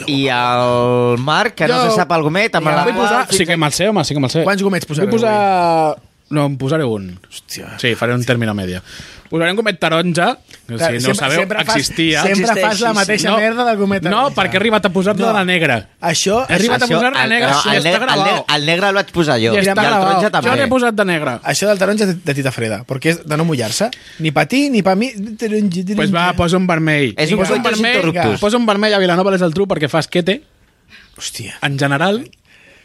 Speaker 3: I el Marc, que no
Speaker 2: Jo-
Speaker 3: se sap el gomet, amb
Speaker 2: Jo
Speaker 3: la
Speaker 2: vull
Speaker 3: qual...
Speaker 2: posar-
Speaker 1: Sí que me'l sé, home, sí que me'l sé.
Speaker 2: Quants gomets posaré
Speaker 1: Vull posar... No, en posaré un. Hòstia. Sí, faré un término media. Posaré un gomet taronja, que si no ho sabeu, existia.
Speaker 2: Fas, sempre
Speaker 4: Existeix,
Speaker 2: fas la
Speaker 4: sí,
Speaker 2: mateixa
Speaker 1: No,
Speaker 2: merda del gomet.
Speaker 1: No, perquè he arribat a posar-te
Speaker 2: No.
Speaker 1: la negra.
Speaker 2: Això,
Speaker 1: He arribat a
Speaker 3: Això,
Speaker 1: posar la
Speaker 3: el-
Speaker 1: negra,
Speaker 3: no,
Speaker 1: sí,
Speaker 3: el
Speaker 1: està
Speaker 3: negre- el
Speaker 1: gravat.
Speaker 3: negre- El negre el vaig posar jo.
Speaker 1: I
Speaker 3: I el
Speaker 1: està
Speaker 3: taronja
Speaker 1: gravat. Jo
Speaker 3: també.
Speaker 1: n'he posat de negre.
Speaker 2: això del taronja és de, de tita freda, perquè és de no mullar-se. Ni pa ti, ni pa mi. Doncs
Speaker 1: Pues va, posa un vermell.
Speaker 3: És un
Speaker 1: posa un
Speaker 3: gomet
Speaker 1: vermell,
Speaker 3: interruptus.
Speaker 1: posa un vermell a Vilanova és el tru perquè fa esquete.
Speaker 2: Hòstia.
Speaker 1: En general,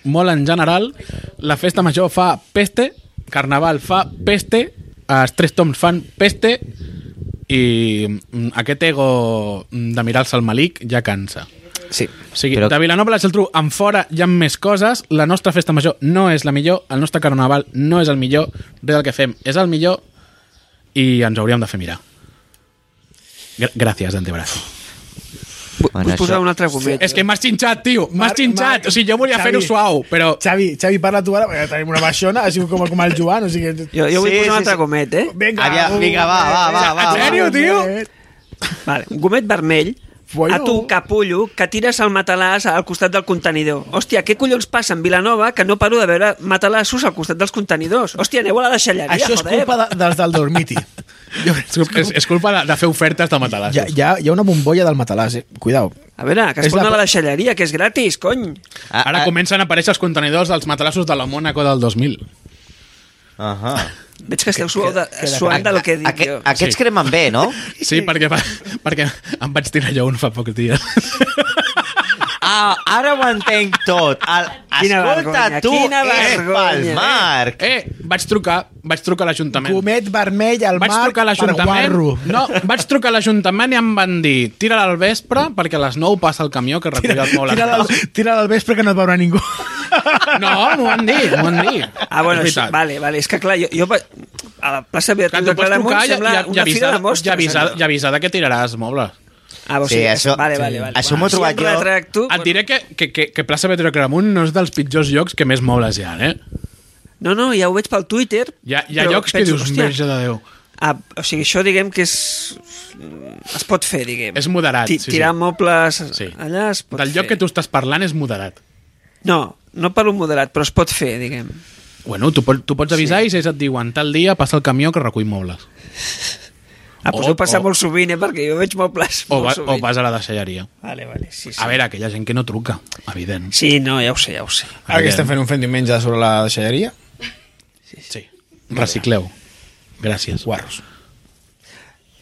Speaker 1: molt en general, la festa major fa peste, carnaval fa peste, els tres toms fan peste i mm, aquest ego de mirar-se al malic ja cansa.
Speaker 4: Sí.
Speaker 1: O sigui,
Speaker 3: Però-
Speaker 1: Però... de Vilanova i la Geltrú en fora hi ha més coses, la nostra festa major no és la millor, el nostre carnaval no és el millor, res del que fem és el millor i ens hauríem de fer mirar. Gr gràcies, d'antebraç.
Speaker 3: Bueno,
Speaker 4: Vull posar
Speaker 3: això-
Speaker 4: un altre gomet.
Speaker 1: És que m'has xinxat, tio, m'has
Speaker 2: Marc,
Speaker 1: xinxat.
Speaker 2: Marc,
Speaker 1: O sigui, jo volia
Speaker 2: Xavi.
Speaker 1: fer-ho suau, però...
Speaker 2: Xavi, Xavi, parla tu ara, perquè tenim una baixona, ha sigut com, com el Joan, o sigui...
Speaker 4: Jo, jo vull
Speaker 3: Sí,
Speaker 4: posar
Speaker 3: sí,
Speaker 4: un altre
Speaker 3: sí.
Speaker 4: gomet, eh?
Speaker 2: Vinga,
Speaker 3: Aviam,
Speaker 2: un-
Speaker 3: vinga, va, va, va, va.
Speaker 1: En sèrio, tio?
Speaker 4: Vale, un gomet vermell
Speaker 2: Bueno.
Speaker 4: a tu, capullo, que tires el matalàs al costat del contenidor. Hòstia, què collons passa en Vilanova que no paro de veure matalassos al costat dels contenidors? Hòstia, aneu a la deixalleria,
Speaker 2: Això és
Speaker 4: joder.
Speaker 2: culpa de, dels del Dormiti.
Speaker 1: És, cul- és, és culpa de, de fer ofertes de matalassos.
Speaker 2: Hi ha, hi, ha, hi ha una bombolla del matalàs, eh? Cuidao.
Speaker 4: A veure, que es
Speaker 2: És
Speaker 4: pon
Speaker 2: la-
Speaker 4: a la deixalleria, que és gratis, cony.
Speaker 3: Ah,
Speaker 1: Ara
Speaker 3: ah,
Speaker 1: comencen a aparèixer els contenidors dels matalassos de la Mónaco del 2000.
Speaker 3: ahà.
Speaker 4: Veig que esteu suau de, suant del que dic
Speaker 3: Aquest-
Speaker 4: jo.
Speaker 3: Aquests
Speaker 1: Sí.
Speaker 3: cremen bé, no?
Speaker 1: Sí, perquè, fa, perquè em vaig tirar jo un fa pocs dies.
Speaker 3: Ah, ara ho entenc tot. El,
Speaker 4: Quina
Speaker 3: escolta,
Speaker 4: vergonya,
Speaker 3: tu eh,
Speaker 4: quina
Speaker 3: és pel
Speaker 4: vergonya.
Speaker 3: Marc.
Speaker 1: Eh, vaig trucar, vaig trucar a l'Ajuntament.
Speaker 2: Gomet vermell al
Speaker 1: Vaig
Speaker 2: mar
Speaker 1: trucar a
Speaker 2: per
Speaker 1: l'Ajuntament.
Speaker 2: guarro.
Speaker 1: No, vaig trucar a l'Ajuntament i em van dir tira-la al vespre perquè a les 9 passa el camió que recull els
Speaker 2: Tira-la al,
Speaker 1: mobles.
Speaker 2: tira al vespre que no et veurà ningú.
Speaker 1: No, m'ho van dir, m'ho van dir.
Speaker 4: Ah, bueno,
Speaker 1: És
Speaker 4: sí,
Speaker 1: veritat.
Speaker 4: vale, vale, és que clar, jo, jo va- a la plaça
Speaker 1: Que
Speaker 4: Beatriu
Speaker 1: tu
Speaker 4: de
Speaker 1: pots
Speaker 4: Claramunt
Speaker 1: trucar i,
Speaker 4: sembla
Speaker 1: i, i,
Speaker 4: una fila
Speaker 1: avisar,
Speaker 4: de mostres.
Speaker 1: i, avisar,
Speaker 4: allò.
Speaker 1: i avisar de que tiraràs mobles.
Speaker 4: Ah, o
Speaker 3: Sí,
Speaker 4: sigui,
Speaker 3: això-
Speaker 4: vale,
Speaker 3: sí.
Speaker 4: vale, vale.
Speaker 3: Això m'ho he
Speaker 4: Si em
Speaker 3: trobat jo.
Speaker 4: retracto,
Speaker 1: Et diré que, que, que, que plaça Petro Cramunt no és dels pitjors llocs que més mobles hi ha, eh?
Speaker 4: No, no, ja ho veig pel Twitter.
Speaker 1: Hi ha, hi ha
Speaker 4: però
Speaker 1: llocs que
Speaker 4: penso,
Speaker 1: dius,
Speaker 4: hòstia,
Speaker 1: merge de Déu.
Speaker 4: Ah, o sigui, això diguem que és... es pot fer, diguem.
Speaker 1: És moderat,
Speaker 4: Ti-
Speaker 1: sí,
Speaker 4: Tirar
Speaker 1: sí.
Speaker 4: mobles
Speaker 1: Sí.
Speaker 4: allà es pot
Speaker 1: Del
Speaker 4: fer.
Speaker 1: lloc que tu estàs parlant és moderat.
Speaker 4: No, no per un moderat, però es pot fer, diguem.
Speaker 1: Bueno, tu, pot- tu pots avisar sí. i si ells et diuen tal dia passa el camió que recull mobles.
Speaker 4: Ah,
Speaker 1: O-
Speaker 4: pues ho passa
Speaker 1: o-
Speaker 4: molt sovint, eh, perquè jo veig mobles
Speaker 1: O,
Speaker 4: molt
Speaker 1: va, o
Speaker 4: sovint.
Speaker 1: vas a la deixalleria.
Speaker 4: Vale, vale, sí, sí.
Speaker 1: A veure, que hi ha gent que no truca, evident.
Speaker 4: Sí, no, ja ho sé, ja ho sé.
Speaker 2: Ara que estem fent un fent diumenge sobre la deixalleria,
Speaker 1: Sí. Recicleu. Gràcies.
Speaker 2: guarros.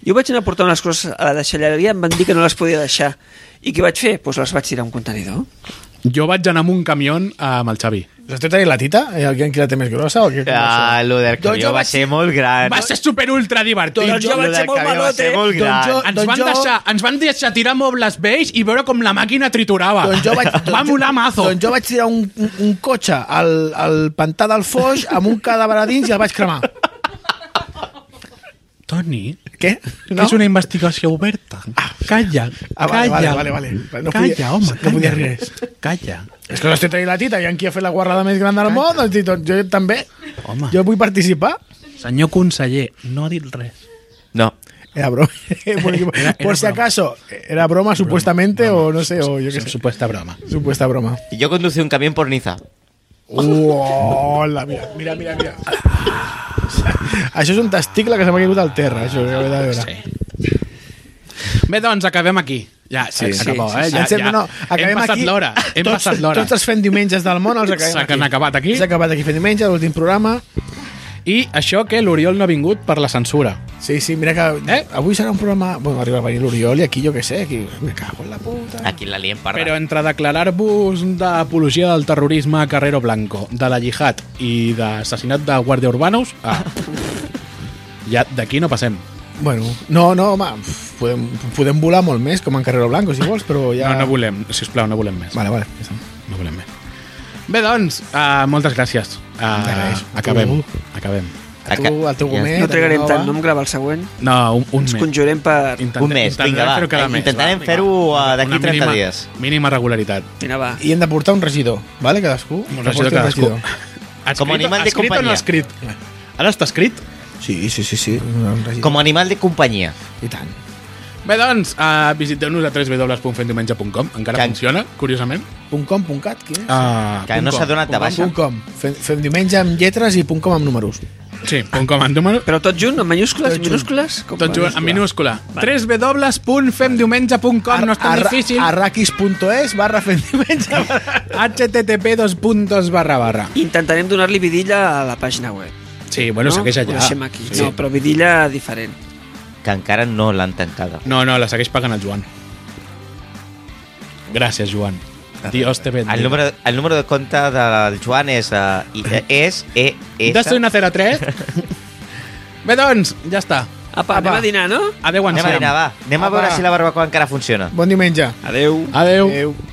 Speaker 4: Jo vaig anar a portar unes coses a la deixalleria, em van dir que no les podia deixar. I què vaig fer? Doncs pues les vaig tirar a un contenidor.
Speaker 1: Jo vaig anar amb un camió amb el Xavi.
Speaker 2: Us esteu tenint la tita? Eh, Qui qui la té més grossa? O què, com va
Speaker 3: Ah,
Speaker 2: això?
Speaker 3: lo del
Speaker 2: Jo-
Speaker 3: camió
Speaker 2: jo
Speaker 3: va
Speaker 2: vaig-
Speaker 3: ser molt
Speaker 2: Eh,
Speaker 3: gran.
Speaker 1: Va ser super ultra divertit.
Speaker 4: Doncs jo
Speaker 3: Lo
Speaker 4: vaig
Speaker 3: del
Speaker 4: ser molt
Speaker 3: camió va
Speaker 4: malote.
Speaker 3: ser molt
Speaker 2: Doncs
Speaker 3: gran.
Speaker 2: jo-
Speaker 1: ens van,
Speaker 2: jo-
Speaker 1: deixar, ens van deixar tirar mobles vells i veure com la màquina triturava.
Speaker 2: Doncs jo vaig,
Speaker 1: Va molar mazo.
Speaker 2: Doncs jo vaig tirar un, un, un cotxe al, al pantà del Foix amb un cadàver a dins i el vaig cremar.
Speaker 1: Toni,
Speaker 2: Què?
Speaker 1: no? és una investigació oberta. Ah, calla,
Speaker 2: Ah, vale,
Speaker 1: calla.
Speaker 2: vale, vale, vale. No podia-
Speaker 1: calla, home,
Speaker 2: no
Speaker 1: calla.
Speaker 2: podia res.
Speaker 1: Calla.
Speaker 2: És que l'estic tenint la tita i en qui ha fet la guardada més gran del món, doncs, dic, doncs jo també.
Speaker 1: Home.
Speaker 2: Jo vull participar.
Speaker 1: Senyor conseller, no ha dit res.
Speaker 3: No.
Speaker 2: Era broma. Por, por si
Speaker 1: broma.
Speaker 2: acaso, era broma, supuestamente, o no sé, o yo qué sé.
Speaker 1: Supuesta broma.
Speaker 2: Supuesta broma.
Speaker 3: Yo conducí un camión por Niza.
Speaker 2: Hola, mira, mira, mira, mira. això és un testicle que se m'ha caigut al terra, això, que de veure.
Speaker 1: Sí. Bé, doncs, acabem aquí. Ja, sí,
Speaker 2: Sí,
Speaker 1: s'acabó,
Speaker 4: sí,
Speaker 1: eh?
Speaker 2: sí,
Speaker 1: Ja,
Speaker 2: sí.
Speaker 1: ja.
Speaker 2: No,
Speaker 1: hem
Speaker 2: acabem
Speaker 1: passat
Speaker 2: aquí.
Speaker 1: l'hora. Hem
Speaker 2: Tots-
Speaker 1: passat l'hora.
Speaker 2: Tots els fent diumenges del món els acabem
Speaker 1: S'ha
Speaker 2: aquí.
Speaker 1: acabat aquí.
Speaker 2: S'ha acabat aquí fent diumenge, l'últim programa.
Speaker 1: I això que l'Oriol no ha vingut per la censura.
Speaker 2: Sí, sí, mira que
Speaker 1: Eh?
Speaker 2: eh? avui serà un programa... Bueno, arriba a venir l'Oriol i aquí jo què sé, aquí... Me cago en la puta.
Speaker 3: Aquí la lien parda.
Speaker 1: Però entre declarar-vos d'apologia del terrorisme a Carrero Blanco, de la Llihat i d'assassinat de guàrdia urbanos, ah, ja d'aquí no passem.
Speaker 2: Bueno, no, no, home, pf, podem, podem volar molt més, com en Carrero Blanco, si vols, però ja...
Speaker 1: No, no volem, si us plau, no volem més.
Speaker 2: Vale, vale. ja està.
Speaker 1: No volem més. Bé, doncs, uh, moltes gràcies. Uh,
Speaker 2: res,
Speaker 1: acabem.
Speaker 2: tu.
Speaker 1: Acabem.
Speaker 2: A tu, al teu
Speaker 1: Eh,
Speaker 3: Ja.
Speaker 2: gomet.
Speaker 4: No
Speaker 2: a
Speaker 4: trigarem
Speaker 2: la
Speaker 4: tant, no
Speaker 2: nova.
Speaker 4: em grava el següent.
Speaker 1: No, un, un
Speaker 4: Ens
Speaker 1: mes.
Speaker 4: conjurem per...
Speaker 1: Intentem-
Speaker 3: Un mes,
Speaker 1: intentem
Speaker 3: vinga, va.
Speaker 1: fer-ho cada mes,
Speaker 3: Intentarem
Speaker 1: va.
Speaker 3: fer-ho,
Speaker 1: Vinga,
Speaker 3: eh, d'aquí
Speaker 1: una
Speaker 3: 30
Speaker 1: mínima-
Speaker 3: dies.
Speaker 1: Mínima regularitat.
Speaker 4: Mira, va.
Speaker 2: I hem de portar un regidor, vale? Cadascú.
Speaker 1: Un
Speaker 2: Que
Speaker 1: regidor
Speaker 2: porti un
Speaker 1: cadascú.
Speaker 2: regidor.
Speaker 1: Escrit-
Speaker 3: animal de
Speaker 1: escrit o no
Speaker 3: companyia.
Speaker 1: escrit? Ara està escrit?
Speaker 2: Sí, sí, sí, sí. Un regidor.
Speaker 3: Com a animal de companyia.
Speaker 2: I tant.
Speaker 1: Bé, doncs, uh, visiteu-nos a www.fendiumenge.com. Encara
Speaker 3: Que-
Speaker 1: funciona, curiosament.
Speaker 2: Punt .com, punt .cat, quin és?
Speaker 1: Uh,
Speaker 3: Que no s'ha donat de baixa.
Speaker 2: Punt .com. Fem, fem diumenge amb lletres i punt .com amb números.
Speaker 1: Sí, punt com en número.
Speaker 4: Però tot junt, en
Speaker 2: Tot
Speaker 4: mayúscules i
Speaker 2: junt.
Speaker 4: minúscules? Com
Speaker 1: Tot junt, en minúscula.
Speaker 4: Vale.
Speaker 1: www.femdiumenge.com No és tan
Speaker 2: Arra-
Speaker 1: difícil.
Speaker 2: Arraquis.es barra fem diumenge. barra-
Speaker 1: http dos puntos barra barra.
Speaker 4: Intentarem donar-li vidilla a la pàgina web.
Speaker 1: Sí, bueno,
Speaker 4: no?
Speaker 1: segueix
Speaker 4: Ho
Speaker 1: allà.
Speaker 4: deixem aquí.
Speaker 1: Sí.
Speaker 4: No, però vidilla diferent.
Speaker 3: Que encara no l'han tancada.
Speaker 1: No, no, la segueix pagant el Joan. Gràcies, Joan. Dios te bendiga.
Speaker 3: El número, el número de compte del Joan és... Uh, i, és e,
Speaker 1: Dos
Speaker 3: S.
Speaker 1: una 03. Bé, doncs, ja està.
Speaker 4: Apa, anem a dinar, no?
Speaker 1: Adéu,
Speaker 3: Anem a
Speaker 1: enciam.
Speaker 3: dinar, va. Anem a
Speaker 2: Apa.
Speaker 3: veure si la barbacoa encara funciona.
Speaker 2: Bon diumenge.
Speaker 4: Adeu.
Speaker 1: Adéu.
Speaker 2: Adéu.